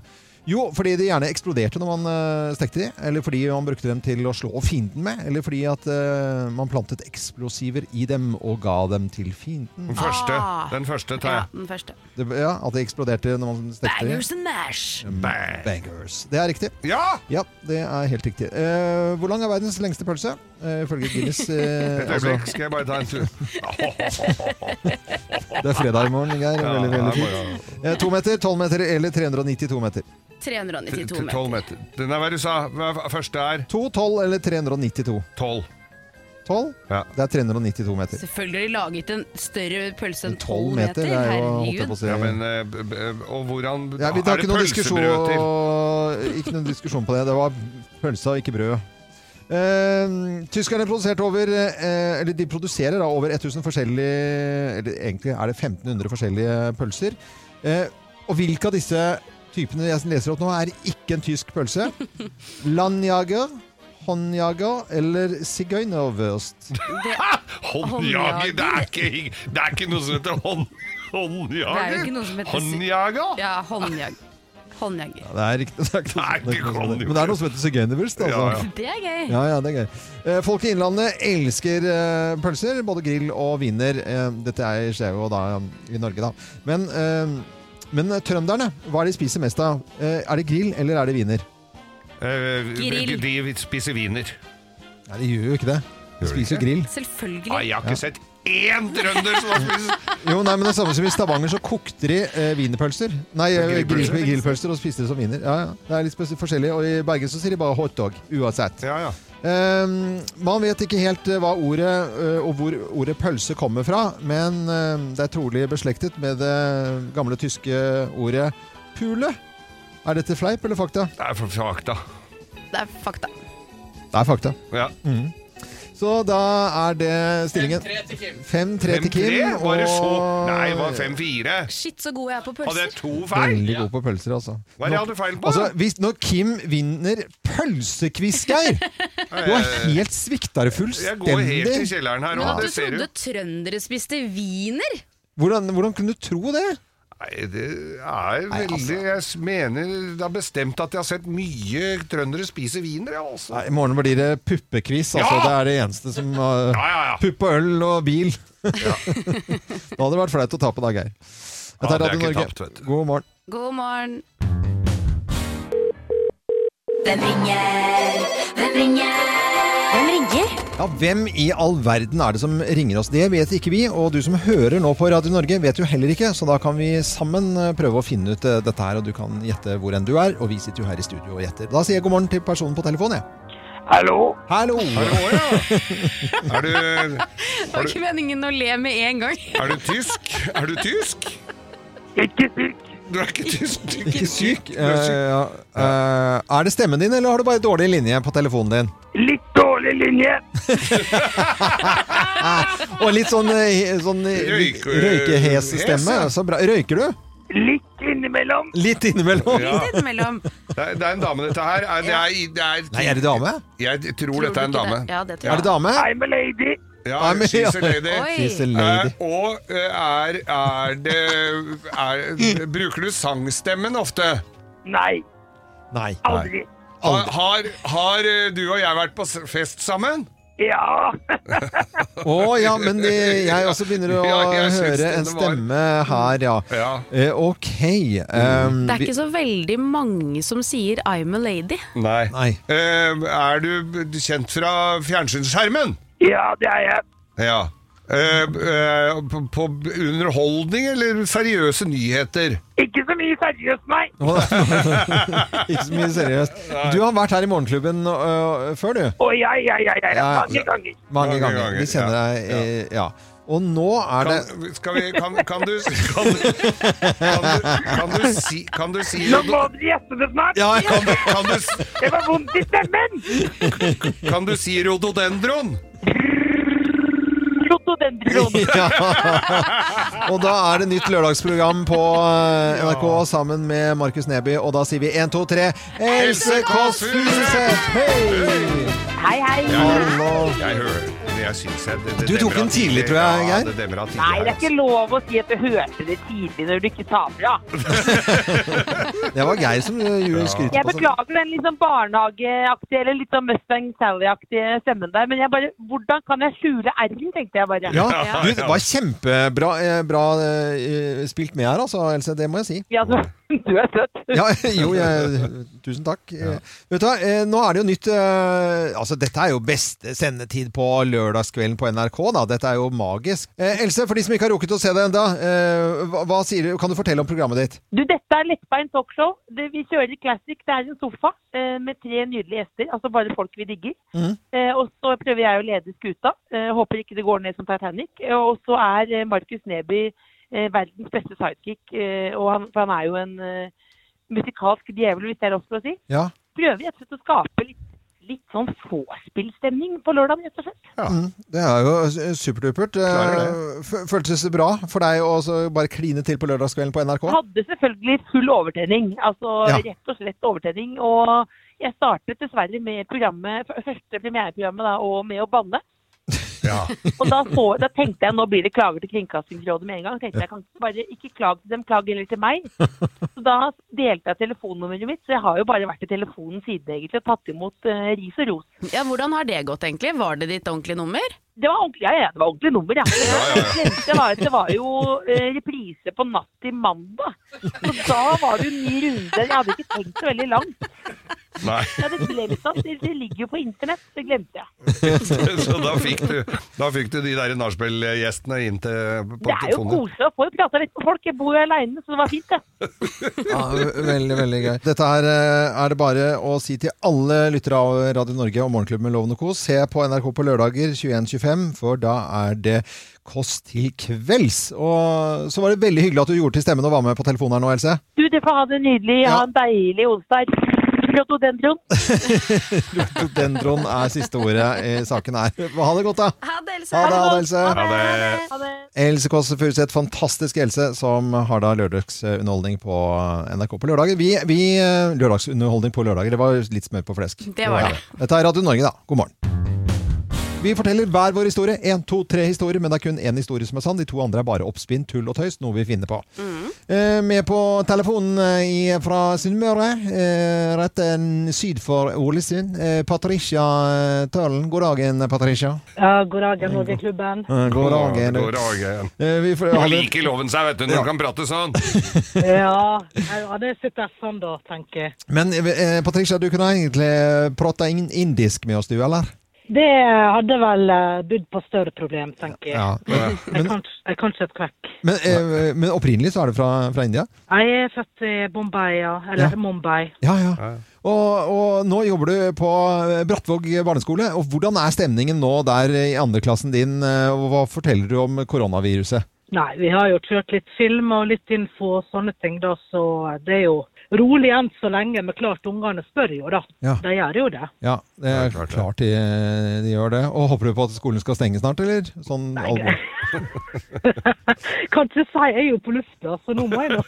C: Jo, fordi de gjerne eksploderte når man eh, stekte de, eller fordi man brukte dem til å slå fienden med, eller fordi at eh, man plantet eksplosiver i dem og ga dem til fienden.
E: Den første. Den første tar
D: Ah. Ja,
E: jeg.
D: den første.
C: Det, ja, At de eksploderte når man stekte de.
D: Bangers and mash!
C: Bang. Bangers. Det er riktig. Ja! Det er helt riktig. Eh, hvor lang er verdens lengste pølse? Eh, Ifølge Guinness
E: (laughs)
C: eh,
E: Et
C: altså,
E: øyeblikk, skal jeg bare ta
C: (laughs)
E: en tur.
C: Det er fredag i morgen, Geir.
E: Ja,
C: Veldig, veldig
E: det er
C: fint. Eh, to meter, tolv meter eller 392 meter?
D: 392
E: Til 12
D: meter.
E: meter. Den er hva du sa. Hva er f- første er?
C: To, tolv eller 392?
E: Tolv.
C: Tolv? Det er 392 meter.
D: Selvfølgelig har de laget en større pølse enn 12
C: 12 meter,
D: meter.
C: det er jo- holdt jeg på å
D: Herregud.
C: si.
E: Ja, men, eh, b- b- og hvordan
C: Ja, vi tar
E: Er
C: ikke
E: det
C: noen, diskusjon,
E: pølsebrød
C: (laughs)
E: til?
C: ikke noen diskusjon på det. Det var pølse og ikke brød. Eh, tyskerne produserte over eh, Eller de produserer da over 1000 forskjellige Eller egentlig er det 1500 forskjellige pølser. Eh, og hvilke av disse typene jeg leser opp nå, er ikke en tysk pølse? Landjager, håndjager eller sigøynerwurst?
E: (laughs) Håndjager, det er ikke, det er ikke noe som heter hånd,
D: Det er jo
E: håndjager.
D: ikke noe som heter
E: Håndjager?
D: Ja, håndjag. håndjager.
C: Ja, det er riktig. Det er ikke noe som- det er ikke noe som- men det er noe som heter sigøynerwurst, altså.
D: Det er gøy.
C: Ja, ja, det er gøy. Eh, Folk i Innlandet elsker eh, pølser, både grill og wiener. Eh, Dette er- skjer jo da i Norge, da. Men, eh, men trønderne, hva er det de spiser mest av? Eh, Er det grill, eller er det wiener?
E: Eh,
D: Grill.
E: De spiser wiener.
C: Nei, de gjør jo ikke det. De spiser jo grill.
D: Selvfølgelig.
E: Nei, jeg
C: Ja.
E: har ikke sett én trønder som har spist
C: Jo, nei, men det er samme som i Stavanger, så kokte de eh, wienerpølser. Nei, eh, grill, grillpølser og spiste det som wiener. Ja, ja. Det er litt spes- forskjellig. Og i Bergen så sier de bare hotdog, uansett. Ehm, man vet ikke helt eh, hva ordet eh, og hvor ordet pølse kommer fra, men eh, det er trolig beslektet med det gamle tyske ordet pule. Er dette fleip eller fakta?
E: Det er for fakta.
D: Det er fakta.
C: Det er fakta.
E: Ja.
C: Mhm. Så da er det stillingen
E: 5-3 til Kim.
C: 5-3 til Kim.
E: Fem-tre? Var det så
C: og-
E: Nei, det var 5-4.
D: Shit, så god jeg er på pølser.
E: Hadde jeg to feil?
C: Veldig god på pølser, altså.
E: Hva er det jeg hadde feil på?
C: Altså, hvis, når Kim vinner pølsekviss, Geir! Du
E: (laughs)
C: er helt svikta
E: Eh, Jeg går helt i
C: fullstendig.
E: kjelleren her
D: Men
E: òg.
D: at
E: Det
D: du
E: ser du.
D: trodde trøndere spiste wiener?
C: Hvordan, hvordan kunne du tro det?
E: Nei, det er
C: altså-
E: veldig Jeg s- mener det er bestemt at jeg har sett mye trøndere spise wiener, jeg altså. også.
C: I morgen blir det puppekviss. Altså, Det
E: Ja!
C: er det eneste som uh, Pupp og øl og bil. (laughs) da hadde det vært flaut å tape da, Geir. Dette
E: Ja,
C: er
E: det er
C: Radio
E: ikke
C: Norge.
E: tapt, vet
C: God morgen.
D: God morgen.
N: Hvem ringer? Hvem ringer? Hvem ringer?
C: Ja, Hvem i all verden er det som ringer oss? Det vet ikke vi, og du som hører nå på Radio Norge, vet jo heller ikke, så da kan vi sammen eh, prøve å finne ut eh, dette her, og du kan gjette hvor enn du er, og vi sitter jo her i studio og gjetter. Da sier jeg god morgen til personen på telefonen, jeg.
J: Hallo?
C: Hallo!
E: Er du,
D: Det var ikke meningen å le med en gang. (laughs)
E: er du tysk? Er du tysk?
J: Ikke syk.
E: Du er ikke tysk. Du er
C: Ikke syk.
E: Du er
C: (laughs) Eh, ja. Eh, er det stemmen din, eller har du bare dårlig linje på telefonen din?
J: Litt dårlig linje.
C: Og litt sånn, eh, sånn
J: Røyke-
C: røykehes-stemme.
J: hes, ja.
C: Så bra. Røyker du?
J: Litt innimellom.
C: Litt innimellom.
E: Ja. Litt
D: innimellom.
E: Det er, det er en dame, dette her. Er, det er, det er,
C: Nei, er det dame?
E: Jeg tror, dette er en
C: du ikke
E: dame.
C: det? Ja, det tror jeg. Er det dame? I'm
J: a lady.
E: Ja,
C: I'm a-
E: she's a lady.
C: Oi. She's a lady.
E: Eh, og eh, er, er det er, Bruker du sangstemmen ofte?
J: Nei.
C: Nei.
J: Aldri.
E: Har, har, har eh, du og jeg vært på s- fest sammen?
J: Ja.
C: Å ja, men eh, jeg også begynner å
E: (laughs) Ja, jeg synes
C: høre
E: den
C: en
E: var-
C: stemme her, ja. Eh, ok. Um,
D: Det er ikke så veldig mange som sier 'I'm a lady'.
E: Nei.
C: Nei.
E: Eh, er du b- kjent fra fjernsynsskjermen?
J: Ja, det er jeg.
E: Ja. Eh, eh, på, på underholdning eller seriøse nyheter?
J: Ikke så mye seriøst, nei.
C: (laughs) ikke så mye seriøst. Du har vært her i Morgenklubben øh, før, du? Eh,
J: Å, ja, ja, ja, ja, ja. Mange ganger.
C: Mange
E: Mange
C: ganger.
E: ganger,
C: Vi kjenner deg, eh, ja. Og nå er det
E: Kan, skal vi, kan, kan du kan, kan, du, kan du si, kan du si
J: Nå må dere gjette det snart.
E: Ja, kan du- kan du s-
J: Det var vondt i stemmen.
E: Kan du si rododendron?
C: (laughs) Ja. Og da er det nytt lørdagsprogram på eh, NRK sammen med Markus Neby, og da sier vi 1, 2, 3 Else Kåss Furuseth! Hei!
J: Hei, hei.
C: Hallo.
E: Jeg hører det jeg syns jeg det, det
C: Du tok
E: demrer
C: den
E: av tidlig,
C: tidlig, tror jeg,
E: Ja,
C: Geir.
E: det demrer av tidlig
J: Nei, det er
E: her.
J: ikke lov å si at du hørte det tidlig når du ikke sa fra.
C: Det var Geir som gjorde skrytet
J: Jeg
C: på seg.
J: beklager den litt sånn barnehageaktige eller litt sånn Mustang Sally-aktige stemmen der, men jeg bare Hvordan kan jeg skjule R-en, tenkte jeg bare.
C: Ja, du, det var kjempebra eh, bra, eh, spilt med her, altså, Else. Det må jeg si.
J: Ja, så, du er søt.
C: Ja, (laughs) jo, jeg, tusen takk. Eh, Vet du hva, eh, nå er det jo nytt eh, Altså, dette er jo beste sendetid på lørdagskvelden på NRK, da. Dette er jo magisk. Eh, Else, for de som ikke har rukket å se det ennå, eh, hva, hva sier du? Kan du fortelle om programmet ditt?
J: Du, dette er lettbeint talkshow. Det, vi kjører classic. Det er en sofa eh, med tre nydelige gjester, altså bare folk vi digger.
C: Mhm.
J: Eh, og så prøver jeg å lede skuta. Eh, håper ikke det går ned som Titanic. Eh, Og så er eh, Markus Neby eh, verdens beste sidekick, eh, og han, for han er jo en eh, musikalsk djevel, hvis det er lov til å si.
C: Ja.
J: Prøver rett og slett å skape litt, litt sånn vorspielstemning på lørdag, rett og slett.
C: Mm, det er jo eh, superdupert. Eh,
J: Klarer
C: f- Føltes det bra for deg å så bare kline til på lørdagskvelden på NRK?
J: Hadde selvfølgelig full overtenning. Altså
C: Ja.
J: rett og slett overtenning. Og jeg startet dessverre med programmet, f- første premiereprogrammet da, og med å banne. (laughs) Og da, så, da tenkte jeg nå blir det klager til Kringkastingsrådet med en gang. tenkte jeg, jeg kan ikke bare ikke klage til dem, klag heller til meg. Så da delte jeg telefonnummeret mitt, så jeg har jo bare vært i telefonen siden egentlig og tatt imot eh, ris og ros.
D: Ja, Hvordan har det gått, egentlig? Var det ditt ordentlige nummer?
J: Det var ordentlig, ja, ja, det var ordentlig nummer, ja. Det jeg glemte var at det var jo eh, reprise på natt til mandag. Så da var det jo ny runde. Jeg hadde ikke tenkt så veldig langt.
E: altså. Nei. (laughs)
J: Ja, det, ble litt sånn. det, det ligger jo på internett, det glemte jeg.
E: Så da fikk du, da fikk du de der nachspiel-gjestene inn til på
J: Det er jo
E: telefonen.
J: koselig å få prata litt med folk. Jeg bor jo aleine, så det var fint, det.
C: Ja, ve- veldig, veldig gøy. Dette her eh, er det bare å si til alle lyttere av Radio Norge og Morgenklubben med Loven og Co. Se på NRK på lørdager 21.25, for da er det Kåss til kvelds. Og så var det veldig hyggelig at du gjorde til stemmen og var med på telefonen her nå, Else.
J: Du, dere får ha det nydelig. Ha en deilig onsdag.
C: (laughs)
Q: Rhododendron.
C: Rhododendron er siste ordet i saken her. Ha det godt, da!
D: Ha det,
C: Ha det, ha det, Else.
Q: Ha det.
C: Else Kåss Furuseth, fantastisk Else, som har da lørdagsunderholdning på NRK på lørdager. Vi, vi eh, Lørdagsunderholdning på lørdager, det var litt smør på flesk.
D: Det var det.
C: Dette er Radio Norge, da. God morgen. Vi forteller hver vår historie. Én, to, tre historier, men det er kun én historie som er sann. De to andre er bare oppspinn, tull og tøys, noe vi finner på.
D: Mm.
C: Eh, Med på telefonen eh, i- fra Sunnmøre, eh, rett eh, syd for Ålesund, eh, Patricia eh, Tølen. God dagen, Patricia.
Q: Ja, god dagen, Norgeklubben.
C: Eh, God dagen.
E: God dagen.
C: Eh, Vi får,
E: Nå
C: hadde-
E: liker loven seg, vet du, når du kan prate sånn.
Q: Ja, jeg hadde sittet sånn da, tenker jeg.
C: Men eh, Patricia, du kunne egentlig prata in indisk med oss, du, eller?
Q: Det hadde vel eh, bydd på større problem, tenker jeg.
C: Ja. Men,
Q: Jeg kan, jeg kan ikke et kvekk.
C: men, eh, men opprinnelig så er du fra, fra India?
Q: Jeg er født i Bombay, ja. Eller
C: Ja.
Q: Mumbai.
C: Ja, ja. Og, og nå jobber du på eh, Brattvåg barneskole. Og hvordan er stemningen nå der i andreklassen din, eh, og hva forteller du om koronaviruset?
Q: Nei, vi har jo kjørt litt film og litt info og sånne ting, da, så det er jo rolig enn så lenge. Men klart, ungene spør jo, da.
C: Ja.
Q: De gjør jo det.
C: Ja, det er klart, de, de gjør det. Og håper du på at skolen skal stenge snart, eller? Sånn alvor.
Q: Kan ikke si jeg er jo på lufta, så nå må jeg nå.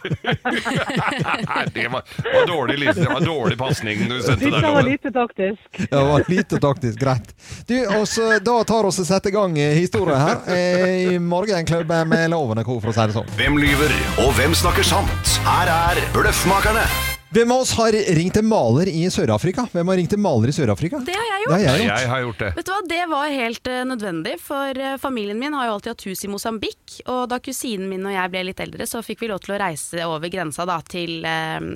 E: Nei, det var, var dårlig, lys- det var dårlig pasning du sendte
Q: Dette
E: der.
Q: var
E: Loven.
Q: lite taktisk.
C: Ja, Det var lite taktisk greit. Du, og så Da tar vi og setter i gang eh, historien her. Eh, I Morgenklubben med Lovende Co, for å si det sånn.
P: Hvem lyver, og hvem snakker sant? Her er Bløffmakerne.
C: Hvem av oss har ringt en maler i Sør-Afrika? Hvem har ringt en maler i Sør-Afrika?
D: Det har jeg
C: Det
D: gjort.
C: har jeg gjort. Jeg har
E: gjort det.
D: Vet du hva, det var helt eh, nødvendig, for eh, familien min har jo alltid hatt hus i Mosambik. Og da kusinen min og jeg ble litt eldre, så fikk vi lov til å reise over grensa da til, eh,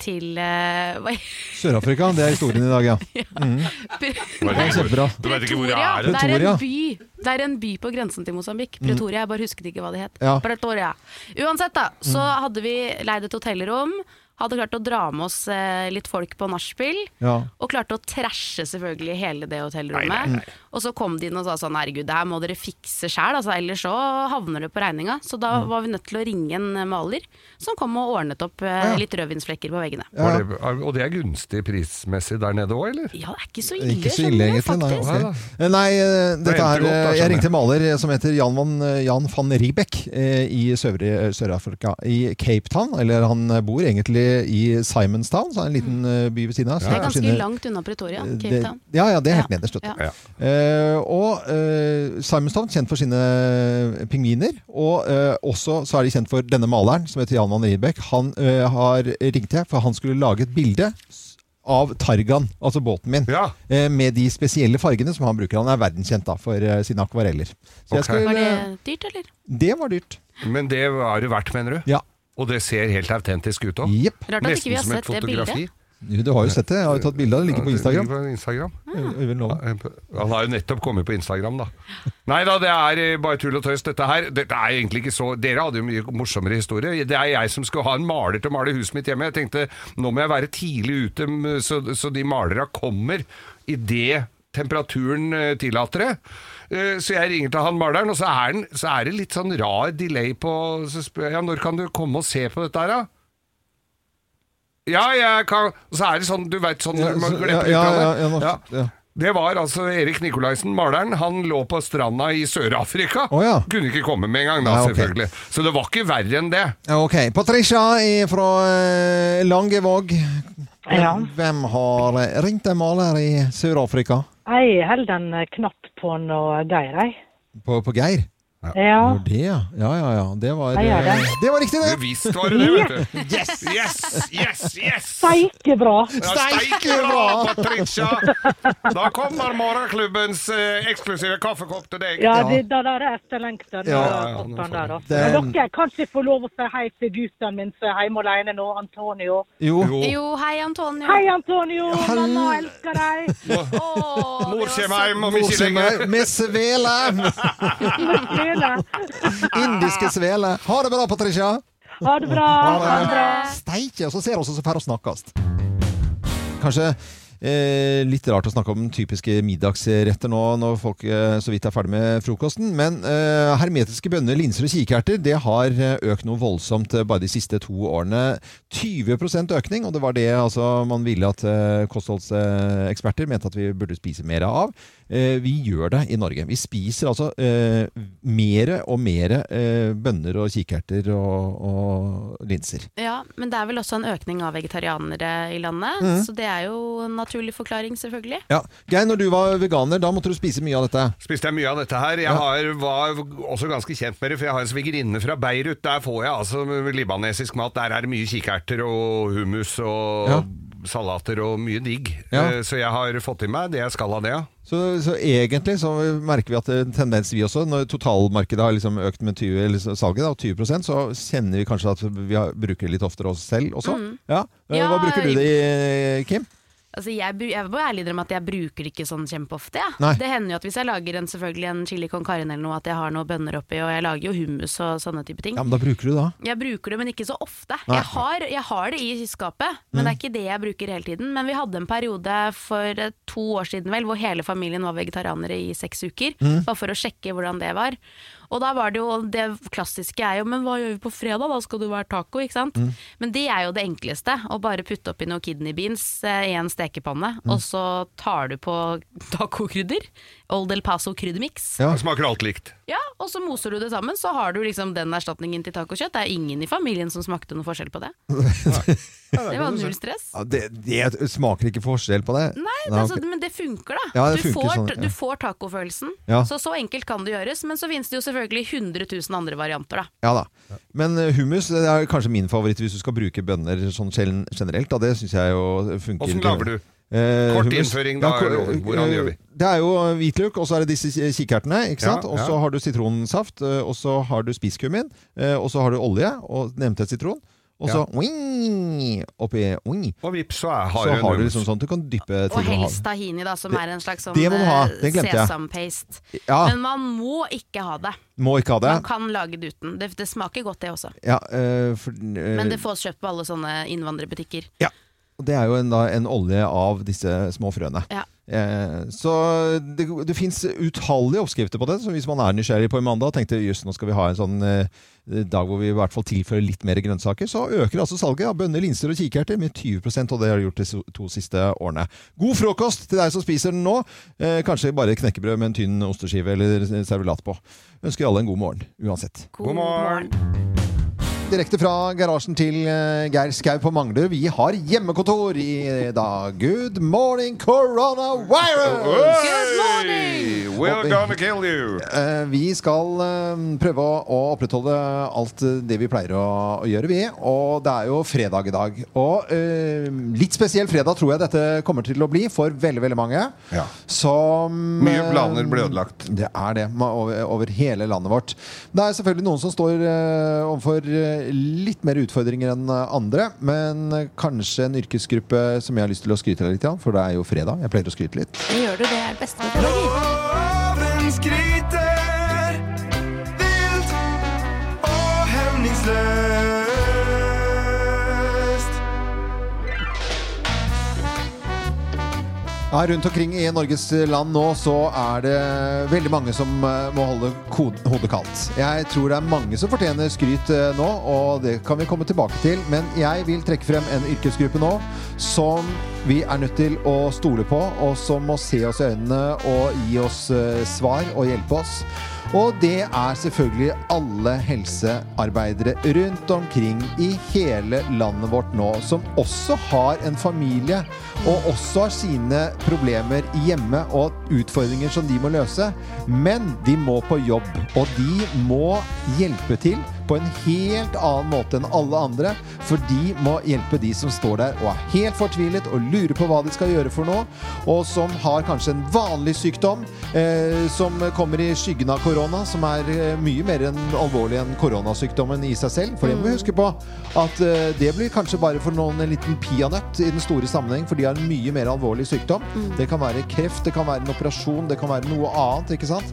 D: til eh, hva-
C: Sør-Afrika, det er historien i dag, ja.
D: (laughs)
C: Mm. Det er kjempebra.
E: Du vet ikke hvor det
D: Pretoria.
E: er?
D: Det er
C: Pretoria.
D: en by. Det er en by på grensen til Mosambik.
C: Mm.
D: Pretoria, jeg bare husket ikke hva det het.
C: Ja. Mm.
D: Pretoria. Uansett, da, så hadde vi leid et hotellrom. Hadde klart å dra med oss eh, litt folk på nachspiel.
C: Ja.
D: Og klarte å trashe selvfølgelig hele det hotellrommet.
C: Nei, nei, nei.
D: Og så kom de inn og sa sånn herregud, det her må dere fikse sjæl, altså, ellers så havner det på regninga. Så da
C: Mm.
D: var vi nødt til å ringe en maler som kom og ordnet opp eh, litt rødvinsflekker på veggene.
E: Var det, og det er gunstig prismessig der nede òg, eller?
D: Ja, det er ikke så
C: Det er
D: ille,
C: Ikke så ille,
D: skjønner du,
C: egentlig. Nei,
D: faktisk.
C: ok. Eh, nei eh,
E: Det
C: dette er
E: endte godt,
C: eh,
E: da, skjønner
C: Jeg ringte
E: jeg.
C: en maler eh, som heter Jan van, eh, Jan van Riebeck eh, i Søvre- eh, Sør-Afrika. I Cape Town, eller han eh, bor egentlig i Simonstown, så er det en liten eh, by ved siden av.
D: Det er ganske
C: Skinner-
D: langt unna Pretoria, Cape
C: Det-
D: Town.
C: Ja, ja, det er helt nederst. vet du.
D: Ja.
C: Eh, og eh, Simonstown, kjent for sine eh, pingviner. Og eh, også så er de kjent for denne maleren, som heter Jan van Riebeck. Han eh, har ringte jeg, for han skulle lage et bilde s- av Targan, altså båten min, eh, med de spesielle fargene som han bruker. Han er verdenskjent da, for eh, sine akvareller. Så jeg
E: Ok.
C: skulle,
D: Var det dyrt, eller?
C: det var dyrt.
E: Men det var det verdt, mener du?
C: Ja.
E: Og det ser helt autentisk ut òg?
C: Jepp.
D: Rart at ikke vi har sett det
C: Du, du har jo sett det. Jeg har jo tatt bilde av det. Ligger på Instagram. Øyvind Loven.
E: Han har jo nettopp kommet på Instagram, da. Nei da, det er eh, bare tull og tøys, dette her. Dette er egentlig ikke så Dere hadde jo mye morsommere historie. Det er jeg som skulle ha en maler til å male huset mitt hjemme. Jeg tenkte nå må jeg være tidlig ute, m, så, så de malera kommer idet temperaturen eh, tillater det. Eh, Så jeg ringer til han maleren, og så er, den, så er det litt sånn rar delay på Så spør jeg ja, når kan du komme og se på dette her, da? Ja, jeg kan Og så er det sånn, du veit sånn
C: Ja,
E: når man
C: så-
E: glemmer
C: ja, ja,
E: uttale.
C: ja, nå- ja.
E: Det var altså Erik Nikolaisen, maleren. Han lå på stranda i Sør-Afrika. Kunne ikke komme med en gang, da,
C: Nei, ok.
E: selvfølgelig. Så det var ikke verre enn det.
C: Ja, Ok. Patricia er fra eh, Langevåg.
Q: Ja.
C: Hvem har eh, ringt en maler i Sør-Afrika?
Q: Jeg holder en eh, knapp på noe geir, jeg.
C: På, på Geir?
Q: Ja.
C: Hvor Det, ja. ja, ja, ja. Det var,
Q: Jeg gjør det.
C: eh, det var riktig, det!
E: Visst var det det, vet du.
C: (laughs) Yes!
E: Yes! Yes! yes.
Q: Steike bra!
E: Steike bra, Patricia! Da kommer morgenklubbens eh, eksklusive kaffekopp til deg.
Q: Ja, det, da der er etterlengta.
E: Ja,
Q: Ja,
E: ja, ja, nå får
Q: der, da.
E: vi. Den-
Q: Men Dere kan ikke få lov å si hei til gutten min som er hjemme alene nå, Antonio.
C: Jo.
D: Jo, hei Antonio.
Q: Hei, Antonio! Mamma elsker deg!
E: Mor kommer hjem om
C: Mor
E: ikke
C: kommer
E: lenger.
C: hjem Med svele! Indiske svele. Ha det bra, Patricia!
Q: Ha det bra!
C: Steike, og så ser vi oss, og så får vi snakkes. Kanskje eh, litt rart å snakke om typiske middagsretter nå når folk eh, så vidt er ferdig med frokosten. Men eh, hermetiske bønner, linser og kikerter det har eh, økt noe voldsomt eh, bare de siste to årene. 20 økning, og det var det altså, man ville at eh, kostholdseksperter mente at vi burde spise mer av. Eh, vi gjør det i Norge. Vi spiser altså eh, mere og mere eh, bønner og kikerter og, og linser.
D: (laughs) Ja, men det er vel også en økning av vegetarianere i landet,
C: Mhm.
D: så det er jo en naturlig forklaring, selvfølgelig.
C: Ja. Geir, når du var veganer, da måtte du spise mye av dette.
E: Spiste jeg mye av dette her. Jeg
C: Ja.
E: har, var også ganske kjent med det, for jeg har en svigerinne fra Beirut. Der får jeg altså libanesisk mat. Der er det mye kikerter og hummus og salater og mye digg.
C: Ja.
E: Eh, Så jeg har fått i meg det jeg skal av det, ja.
C: Så, så egentlig så merker vi at det er en tendens vi også, når totalmarkedet har liksom økt med 20, eller så- salget da, 20 så kjenner vi kanskje at vi har, bruker det litt oftere oss selv også.
D: Mm.
C: Ja. Eh,
D: Ja,
C: Hva bruker du det i, Kim?
D: Altså, jeg, bru- jeg må ærlig innrømme at jeg bruker det ikke sånn kjempeofte. jeg.
C: Nei.
D: Det hender jo at hvis jeg lager en, selvfølgelig en chili con carne eller noe, at jeg har noe bønner oppi, og jeg lager jo hummus og sånne type ting.
C: Ja, men da bruker du det da.
D: Jeg bruker det, men ikke så ofte.
C: Nei. Mm.
D: Jeg har, jeg har det i skapet, men det er ikke det jeg bruker hele tiden. Men vi hadde en periode for eh, to år siden vel, hvor hele familien var vegetarianere i seks uker.
C: Mm.
O: Mhm.
D: Bare for å sjekke hvordan det var. Og da var det jo det klassiske er jo Men hva gjør vi på fredag? Da skal det være taco, ikke sant?
C: Mm.
O: Mhm.
D: Men det er jo det enkleste. Å bare putte oppi noen kidney beans eh, i en stekepanne,
C: Mm.
E: Mhm.
D: og så tar du på tacokrydder. Old El Paso kryddermiks.
E: Det Smaker alt likt.
D: Ja, og så moser du det sammen, så har du liksom den erstatningen til tacokjøtt. Det er ingen i familien som smakte noe forskjell på
C: (laughs)
D: det. Det var null stress.
C: Ja, det, det smaker ikke forskjell på det.
D: Nei, det,
C: Nei,
D: altså,
C: ok.
D: men det funker, da.
C: Ja, det
D: du,
C: funker
D: får,
C: sånn, ja.
D: du får tacofølelsen.
C: Ja.
D: Så så enkelt kan det gjøres. Men så finnes det jo selvfølgelig 100 000 andre varianter, da.
C: Ja da. Men eh, hummus det er kanskje min favoritt hvis du skal bruke bønner sånn gen- generelt. Da. Det syns jeg jo funker.
E: Åssen lager du?
C: Eh,
E: Kort
C: hummus.
E: innføring, da,
C: ko-
E: Loven. Hvordan
C: eh,
E: gjør vi?
C: Det er jo hvitløk, og så er det disse ki- kikertene. ikke
E: Ja,
C: sant? Og så
E: ja.
C: har du sitronsaft, eh, og så har du spisskummin, eh, og så har du olje, og nevnte sitron. Og så
E: Ja.
C: oing, oppi oing.
E: Og vips, så er- har
C: Så
E: du en
C: har du
E: hummus.
C: liksom sånn du kan dyppe
D: Og
C: til
D: helst tahini, da, som
C: Det-
D: er en slags sånn
C: det må du ha.
D: eh,
C: Det glemte jeg.
D: sesampaste.
C: Ja.
D: Men man må ikke ha det.
C: Må ikke ha det.
D: Man kan lage det uten. Det, det smaker godt, det også.
C: Ja, eh, for, eh,
D: Men det fås kjøpt på alle sånne innvandrerbutikker.
C: Ja. Og det er jo en, da, en olje av disse små frøene.
D: Ja.
C: Eh, så det, det fins utallige oppskrifter på det. Så hvis man er nysgjerrig på en mandag og tenkte jøss, nå skal vi ha en sånn eh, dag hvor vi i hvert fall tilfører litt mer grønnsaker, så øker altså salget av bønner, linser og kikerter med 20 og det har det gjort de so- to siste årene. God frokost til deg som spiser den nå. Eh, kanskje bare knekkebrød med en tynn osteskive eller servelat på. Ønsker alle en god morgen uansett.
E: God morgen!
C: Direkte fra garasjen til eh, Geir Skau på Manglerud. Vi har hjemmekontor i dag. Good morning, coronavirus!
E: Good morning! We're gonna kill you!
C: Eh, Vi skal eh, prøve å å opprettholde alt eh, det vi pleier å, å gjøre, vi. Og det er jo fredag i dag. Og eh, litt spesiell fredag tror jeg dette kommer til å bli for veldig, veldig mange.
E: Ja.
C: Som
E: Mye planer ble
C: ødelagt. Det er det. ma- Over, over hele landet vårt. Det er selvfølgelig noen som står eh, overfor eh, litt mer utfordringer enn eh, andre. Men eh, kanskje en yrkesgruppe som jeg har lyst til å skryte av litt, ja, for det er jo fredag. Jeg pleier å skryte litt.
D: Det gjør du, det er det beste med
R: Loven skryter vilt og hemningsløst.
C: Ja, rundt omkring i Norges land nå så er det veldig mange som eh, må holde kod- hodet kaldt. Jeg tror det er mange som fortjener skryt eh, nå, og det kan vi komme tilbake til. Men jeg vil trekke frem en yrkesgruppe nå som vi er nødt til å stole på, og som må se oss i øynene og gi oss eh, svar og hjelpe oss. Og det er selvfølgelig alle helsearbeidere rundt omkring i hele landet vårt nå, som også har en familie og også har sine problemer hjemme og utfordringer som de må løse. Men de må på jobb, og de må hjelpe til på en helt annen måte enn alle andre, for de må hjelpe de som står der og er helt fortvilet og lurer på hva de skal gjøre for noe, og som har kanskje en vanlig sykdom eh, som kommer i skyggen av korona, som er eh, mye mer enn alvorlig enn koronasykdommen i seg selv. For det må vi huske på at eh, det blir kanskje bare for noen en liten peanøtt i den store sammenheng, for de har en mye mer alvorlig sykdom. Det kan være kreft, det kan være en operasjon, det kan være noe annet, ikke sant?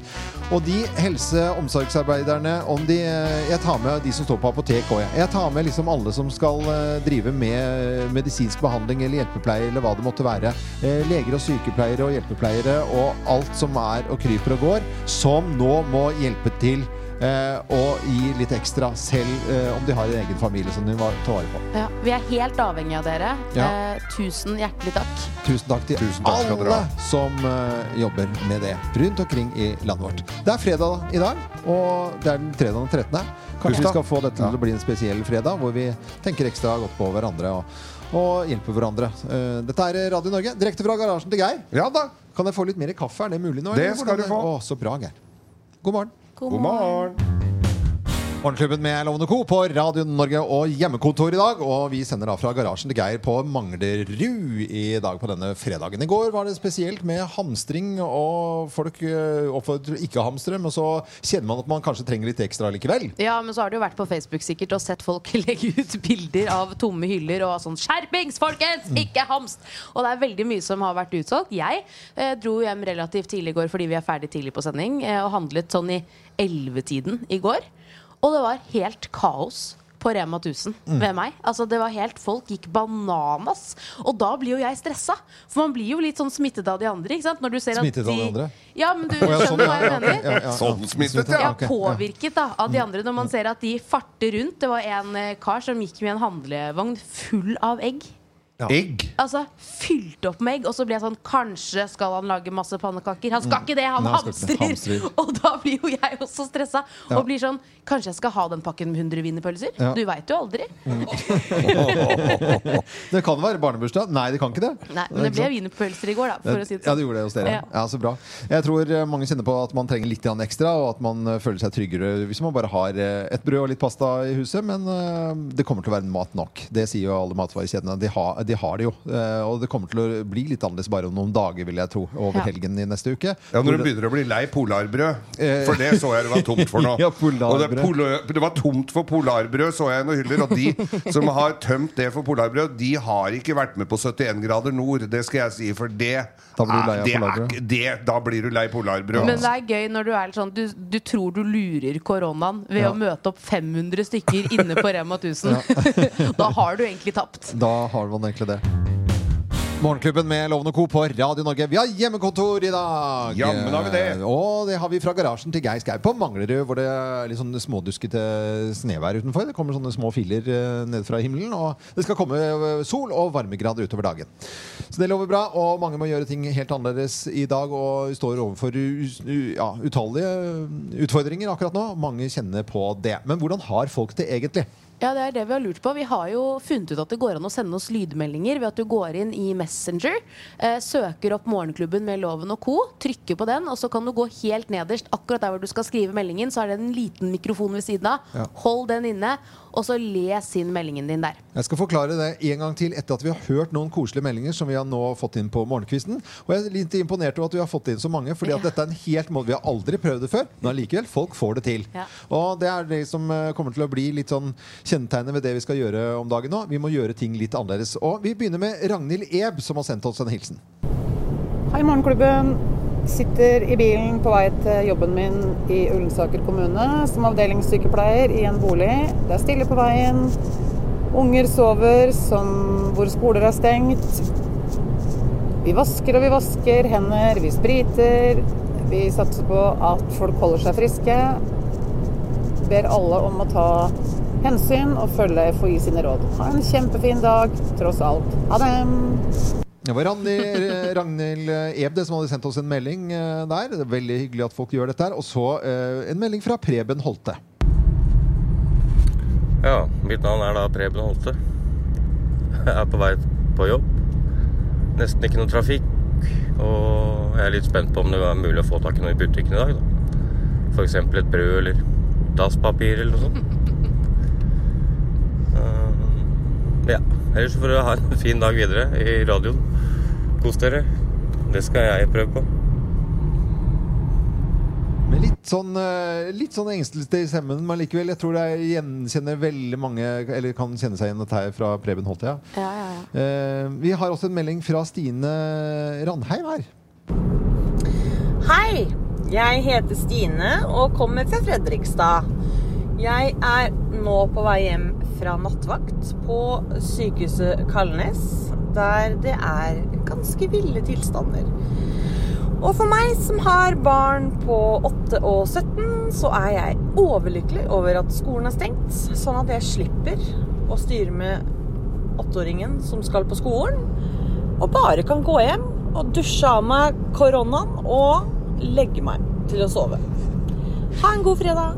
C: Og de helse- og omsorgsarbeiderne, om de eh, Jeg tar tar med de som står på apotek òg. Jeg tar med liksom alle som skal eh, drive med eh, medisinsk behandling eller hjelpepleie eller hva det måtte være. Eh, Leger og sykepleiere og hjelpepleiere og alt som er og kryper og går, som nå må hjelpe til eh, og gi litt ekstra, selv eh, om de har en egen familie som de må ta vare på.
S: Ja, vi er helt avhengig av dere.
C: Ja.
S: Eh, tusen hjertelig takk.
C: Tusen takk til
S: takk skal dere
C: alle som eh, jobber med det rundt omkring i landet vårt. Det er fredag i dag, og det er den fredagen den 13. Kanskje vi
T: Bursdag.
C: skal få dette til å bli en spesiell fredag, hvor vi tenker ekstra godt på hverandre og, og hjelper hverandre. Eh, Dette er Radio Norge, direkte fra garasjen til Geir.
E: Ja da.
C: Kan jeg få litt mer kaffe? Er det mulig nå?
E: Det
C: eller
E: skal
C: hvordan-
E: du få.
C: Å, så bra, Geir. God morgen.
E: God God morgen.
C: Morgenklubben med Lovende Co. på Radio Norge og hjemmekontor i dag. Og vi sender da fra garasjen til Geir på Manglerud i dag på denne fredagen. I går var det spesielt med hamstring, og folk eh, oppfordrer til ikke å hamstre, men så kjenner man at man kanskje trenger litt ekstra likevel.
D: (laughs) Ja, men så har du jo vært på Facebook sikkert og sett folk (laughs) legge ut bilder av tomme hyller og sånn 'Skjerpings, folkens!
C: Mm.
D: Ikke hamst!' Og det er veldig mye som har vært utsolgt. Jeg eh, dro hjem relativt tidlig i går fordi vi er ferdig tidlig på sending, eh, og handlet sånn i 11-tiden i går. Og det var helt kaos. På Rema 1000
S: Mm.
D: ved meg. Altså det var helt, Folk gikk bananas. Og da blir jo jeg stressa. For man blir jo litt sånn smittet av de andre. Ikke sant? Når du ser at
C: Smittet av de andre?
D: Ja, men du
C: Å, ja, sånn,
D: skjønner hva
C: ja,
D: jeg
C: ok,
D: mener?
C: ja, ja, ja. Sånn smittet, ja,
D: ja.
C: ok, ja.
D: Påvirket da, av de andre når man ser at de farter rundt. Det var en eh, kar som gikk med en handlevogn full av egg.
E: Egg?
D: Altså fylt opp med egg, og så ble jeg sånn Kanskje skal han lage masse pannekaker? Han skal
S: Mm.
D: ikke det, han
S: Nei, han skal ikke det.
D: hamstrer!
S: Hamstrer.
D: (laughs) Og da blir jo jeg også stressa.
S: Ja.
D: Og blir sånn Kanskje jeg skal ha den pakken med 100 wienerpølser?
C: Ja.
D: Du veit jo aldri.
C: det kan være barnebursdag. Nei, det kan ikke det.
D: Nei, men det
C: Ikke
D: ble
C: sant?
D: wienerpølser i går, da. For å si det
C: Eh, Ja,
D: sånn.
C: det gjorde det hos dere. Ja.
D: Ja.
C: så bra. Jeg tror eh, mange kjenner på at man trenger litt grann ekstra, og at man eh, føler seg tryggere hvis man bare har eh, et brød og litt pasta i huset, men eh, det kommer til å være mat nok. Det sier jo alle matvarekjedene. De, har- de har det jo. Eh, Og det kommer til å bli litt annerledes bare om noen dager, vil jeg tro, over
E: Ja.
C: helgen i neste uke.
E: Ja, Når du
C: Hvor-
E: begynner å bli lei polarbrød. For det så jeg det var tomt for nå.
C: Eh. (laughs) Ja,
E: og det,
C: polarbrød.
E: polo- det var tomt for polarbrød, så jeg i noen hyller. Og de som har tømt det for polarbrød, de har ikke vært med på 71 grader nord. Det skal jeg si, for det
C: Da blir du lei av
E: det er,
C: polarbrød.
E: ikke- det, Da blir du lei polarbrød.
D: Men det er gøy når du er litt sånn Du, du tror du lurer koronaen ved
E: Ja.
D: å møte opp 500 stykker inne på Rema 1000. (laughs) da har du egentlig tapt.
C: Da har man egentlig det. Morgenklubben med Loven og Co. på Radio Norge. Vi har hjemmekontor i dag!
E: Jammen har vi det.
C: Eh, Og det har vi fra garasjen til Geir Skau på Manglerud, hvor det er litt sånn småduskete snevær utenfor. Det kommer sånne små filer eh, ned fra himmelen, og det skal komme eh, sol og varmegrader utover dagen. Så det lover bra, og mange må gjøre ting helt annerledes i dag, og vi står overfor u- u- ja, utallige eh, utfordringer akkurat nå. Mange kjenner på det. Men hvordan har folk det egentlig?
D: Ja, det er det vi har lurt på. Vi har jo funnet ut at det går an å sende oss lydmeldinger ved at du går inn i Messenger, eh, søker opp Morgenklubben med Loven og co., trykker på den, og så kan du gå helt nederst, akkurat der hvor du skal skrive meldingen, så er det en liten mikrofon ved siden av.
C: Ja.
D: Hold den inne, og så les inn meldingen din der.
C: Jeg skal forklare det en gang til etter at vi har hørt noen koselige meldinger som vi har nå fått inn på morgenkvisten. Og jeg er litt imponert over at vi har fått inn så mange, fordi at dette er en helt måte Vi har aldri prøvd det før, men allikevel, folk får det til.
D: Ja.
C: Og det er det som eh, kommer til å bli litt sånn kjennetegnet ved det vi skal gjøre om dagen nå. Vi må gjøre ting litt annerledes. Og vi begynner med Ragnhild Eb, som har sendt oss en hilsen.
U: Hei, Morgenklubben. Sitter i bilen på vei til jobben min i Ullensaker kommune som avdelingssykepleier i en bolig. Det er stille på veien. Unger sover som hvor skoler er stengt. Vi vasker og vi vasker hender, vi spriter. Vi satser på at folk holder seg friske. Ber alle om å ta hensyn og følge FHI sine råd. Ha en kjempefin dag tross alt. Ha det!
C: Det var Randi- Ragnhild Ebde som hadde sendt oss en melding eh, der. Det er veldig hyggelig at folk gjør dette her. Og så eh, en melding fra Preben Holte.
V: Ja, mitt navn er da Preben Holte. Jeg er på vei på jobb. Nesten ikke noe trafikk. Og jeg er litt spent på om det er mulig å få tak i noe i butikken i dag. da. F.eks. et brød eller dasspapir eller noe sånt. Eh, ja. Ellers får dere ha en fin dag videre i radioen. Kos dere. Det skal jeg prøve på.
C: Med litt sånn, eh, litt sånn engstelse i stemmen, men likevel. Jeg tror jeg gjenkjenner veldig mange Eller kan kjenne seg igjen dette her fra Preben Holte, ja.
D: Ja, ja, ja.
C: Eh, vi har også en melding fra Stine Randheim her.
W: Hei, jeg heter Stine og kommer fra Fredrikstad.
U: Jeg er nå på vei hjem fra nattvakt på sykehuset Kalnes, der det er ganske ville tilstander. Og for meg som har barn på 8 og 17, så er jeg overlykkelig over at skolen er stengt, sånn at jeg slipper å styre med åtteåringen som skal på skolen, og bare kan gå hjem og dusje av meg koronaen og legge meg til å sove. Ha en god fredag.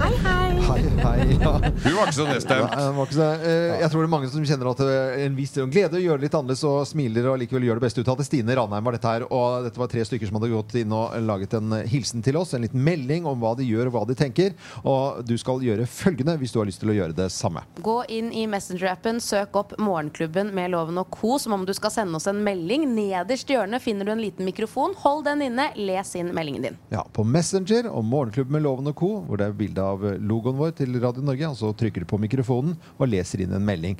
U: Hei, hei.
C: Hei, hei, ja.
E: (laughs) Du var ikke så nedstemt.
C: Nei, det var ikke så, eh, jeg tror det er mange som kjenner at eh, en viss glede å gjøre det litt annerledes og smiler og likevel gjør det beste ut av det. Stine Ranheim var dette her, og dette var tre stykker som hadde gått inn og laget en hilsen til oss. En liten melding om hva de gjør og hva de tenker. Og du skal gjøre følgende hvis du har lyst til å gjøre det samme.
D: Gå inn i Messenger-appen, søk opp Morgenklubben med Loven og co. som om du skal sende oss en melding. Nederst i hjørnet finner du en liten mikrofon. Hold den inne, les inn meldingen din.
C: Ja, på Messenger og Morgenklubben med Loven og Co, hvor det er bilde av eh, logoen vår til Radio Norge. Og så trykker du på mikrofonen og leser inn en melding.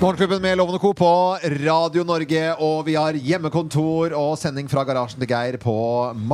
C: Morgenklubben med Loven og Co på Radio Norge, og vi har hjemmekontor og sending fra garasjen til Geir på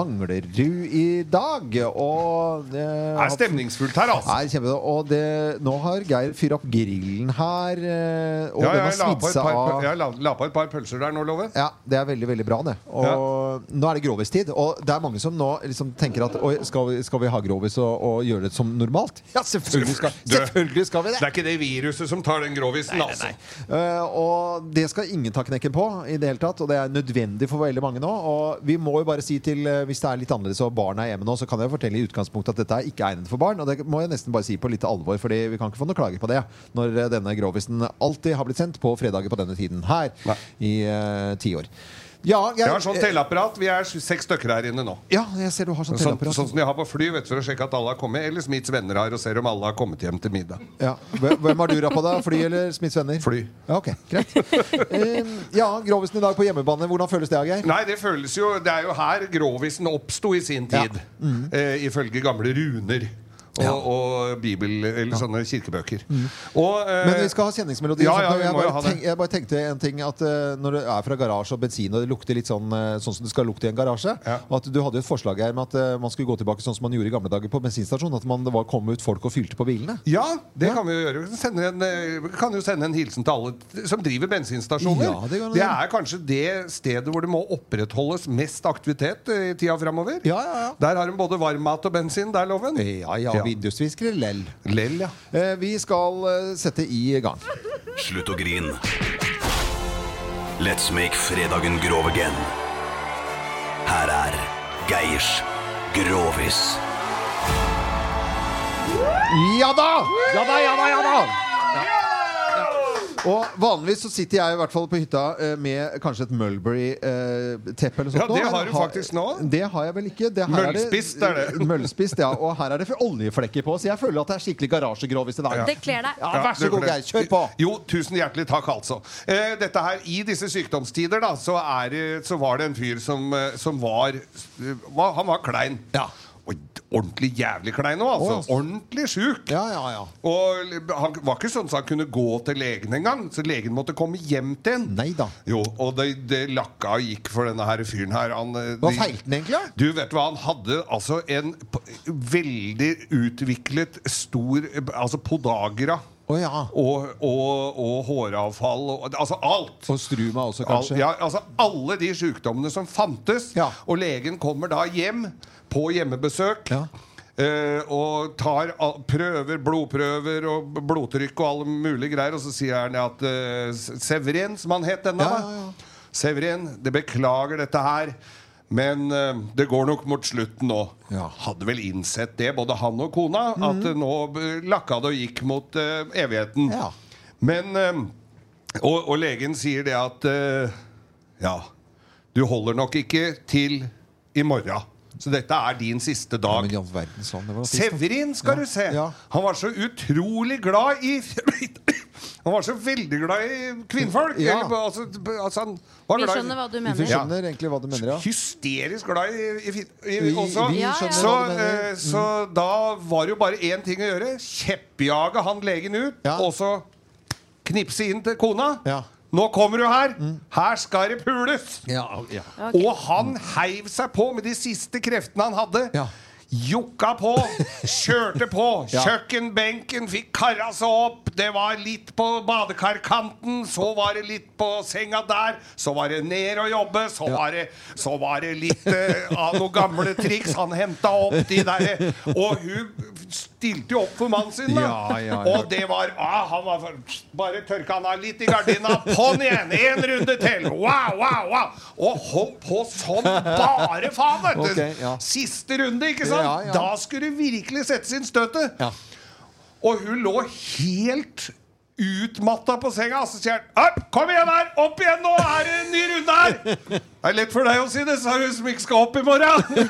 C: Manglerud i dag. Og det
E: er stemningsfullt her, altså.
C: Er kjempe, og det, nå har Geir fyrt opp grillen her, eh, og den
E: Ja,
C: har
E: jeg la
C: svidd
E: på et
C: seg
E: par,
C: av.
E: jeg la, la på et par pølser der nå, Loven.
C: Ja, det er veldig, veldig bra det. Og nå er det grovistid. Og det er mange som nå liksom tenker at Oi, skal vi, skal vi ha grovis og, og gjøre det som normalt? Ja, selvfølgelig skal,
E: Du,
C: selvfølgelig skal vi
E: Det
C: det!
E: er ikke det viruset som tar den grovisen, altså.
C: Eh, og det skal ingen ta knekken på, i det hele tatt og det er nødvendig for veldig mange nå. Og vi må jo bare si til eh, Hvis det er litt annerledes og barna er hjemme nå, så kan jeg fortelle i utgangspunktet at dette er ikke egnet for barn. Og det må jeg nesten bare si på litt alvor, Fordi vi kan ikke få noe klager på det når eh, denne grovisen alltid har blitt sendt på fredager på denne tiden her i eh, ti år. Ja, eh, jeg,
E: Jeg har sånn telleapparat. Vi er seks stykker her inne nå.
C: Ja, jeg ser du har sånn
E: Sånn,
C: teleapparat.
E: sånn som de har på fly vet du, for å sjekke at alle har kommet. Eller Smiths venner har og ser om alle har kommet hjem til middag.
C: Ja. Hvem hvem har du rappa da? Fly eller Smiths venner?
E: Fly.
C: Ja, ok, greit. Eh, ja, Grovisen i dag på hjemmebane. Hvordan føles det, Geir?
E: Nei, det føles jo Det er jo her grovisen oppsto i sin tid.
C: Mm.
E: eh, ifølge gamle runer. Og, og bibel Eller sånne kirkebøker. Og, eh,
C: Mm. Men vi skal ha kjenningsmelodi. og
E: Ja, ja,
C: sånt, og
E: vi
C: jeg,
E: må jo
C: bare
E: ha
C: tenk,
E: det.
C: jeg bare tenkte en ting at eh, Når det er fra garasje og bensin og det lukter litt sånn, eh, sånn som det skal lukte i en garasje og at Du hadde jo et forslag her med at eh, man skulle gå tilbake sånn som man gjorde i gamle dager på bensinstasjonen. At man, det var, kom ut folk og fylte på bilene.
E: Ja, det kan vi jo gjøre. Vi sender en, eh, Vi kan jo sende en hilsen til alle t- som driver bensinstasjoner.
C: Ja, det
E: det,
C: kan vi gjøre.
E: er kanskje det stedet hvor det må opprettholdes mest aktivitet eh, i tida framover. Der har de både varm mat og bensin. Der, Loven.
C: Ja, ja, vindusviskere lell.
E: Lell, ja.
C: Eh, Vi skal eh, sette i gang.
V: Slutt å grin. Let's make fredagen grov again. Her er Geirs Grovis.
C: Ja da! Ja da, ja da, ja da! Og vanligvis så sitter jeg i hvert fall på hytta eh, med kanskje et Mulberry-teppe eller
E: Ja,
C: sånt. nå,
E: det
C: men
E: har du faktisk nå.
C: Det har jeg vel ikke. Det her
E: Møllspist er det.
C: (laughs) Møllspist, ja. Og her er det for oljeflekker på, så jeg føler at det er skikkelig garasjegrovis i dag.
E: Ja.
D: Det kler deg.
C: Ja, vær så
E: det
C: god,
E: kler-
C: Geir. Kjør på.
E: Jo, tusen hjertelig takk, altså. Eh, dette her, I disse sykdomstider da, så, er, det- så var det en fyr som, eh, som var, eh, var Han var klein. Og Ordentlig jævlig klein nå, altså. Ordentlig sjuk. Og l- han var ikke sånn at han kunne gå til legen engang, så legen måtte komme hjem til en. Jo, og det, det lakka og gikk for denne her fyren her. Han, eh,
C: Hva
E: de-
C: feilte den egentlig? da?
E: du vet du hva, han hadde altså en p- veldig utviklet stor Altså podagra. Og, og, og håravfall og altså alt.
C: Og struma også, kanskje.
E: ja, altså Alle de sykdommene som fantes. Og legen kommer da hjem på hjemmebesøk. eh, og tar al- prøver, blodprøver og b- blodtrykk og alle mulige greier. Og så sier han at eh, S- Severin, som han het denne, da. Severin, det beklager dette her. Men eh, det går nok mot slutten nå. Hadde vel innsett det, både han og kona, at
C: Mhm.
E: eh, nå eh, lakka det og gikk mot eh, evigheten. Men eh, og, og legen sier det at eh, Ja, du holder nok ikke til i morgen. Så dette er din siste dag.
C: sånn,
E: Severin, skal du se! Han var så utrolig glad i (clears throat) Han var så veldig glad i kvinnfolk!
C: Ja.
E: Eller, altså, altså, han var
D: Vi
E: glad i-
D: skjønner hva du
C: Vi
D: mener.
C: skjønner egentlig hva du mener, ja.
E: hysterisk glad i, i, fin-
C: Vi-
E: i også.
C: vi Ja, skjønner ja.
E: Så,
C: hva du mener. Mm.
E: eh, så da var det jo bare én ting å gjøre. Kjeppjage han legen ut, og så knipse inn til kona. Nå kommer du her!
C: Mm.
E: Her skal det pules!
C: Ja, ja.
E: Og han heiv seg på med de siste kreftene han hadde. Jokka på, kjørte på.
X: (laughs) Ja.
E: Kjøkkenbenken fikk kara seg opp. Det var litt på badekarkanten, så var det litt på senga der. Så var det ned og jobbe, så, var, det, så var det litt eh, av noen gamle triks. Han henta opp de derre Og hun stilte jo opp for mannen sin, da.
X: Ja, ja, ja.
E: Og det var ah, Han var for, bare tørka han av litt i gardina. På'n igjen! Én runde til! Wow, wow, wow! Og holdt på sånn bare faen, vet du!
X: Ok, ja.
E: Siste runde, ikke sant?
X: Ja, ja.
E: Da skulle det virkelig settes inn støtet. Og hun lå helt utmatta på senga, og så sier han «Opp, Kom igjen her! Opp igjen! Nå er det en ny runde her! Det er lett for deg å si det, sa hun som ikke skal opp i morgen.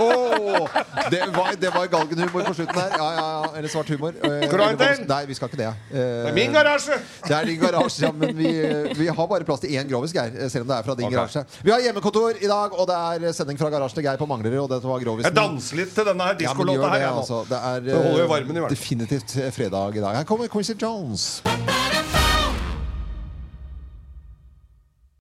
C: Åh, det, var, det var galgenhumor på slutten her. Ja, ja, ja. Eller svart humor. Eh,
E: Skal du ha en
C: eller
E: til?
C: voks- Nei, vi skal ikke det. Eh,
E: Det er min garasje!
C: Det er din garasje, ja, men vi, eh, vi har bare plass til én grovis, Geir. eh, Selv om det er fra din
E: Ok.
C: garasje. Vi har hjemmekontor i dag, og det er sending fra garasjen til Geir på Manglerud. Og dette var grovisen.
E: Jeg danser litt til denne her
C: Ja, men gjør
E: diskolåta her.
C: det,
E: jeg nå.
C: altså. Det er
E: Det holder jo
C: eh,
E: varmen i hvert fall.
C: definitivt fredag i dag. Her kommer Quincy Jones.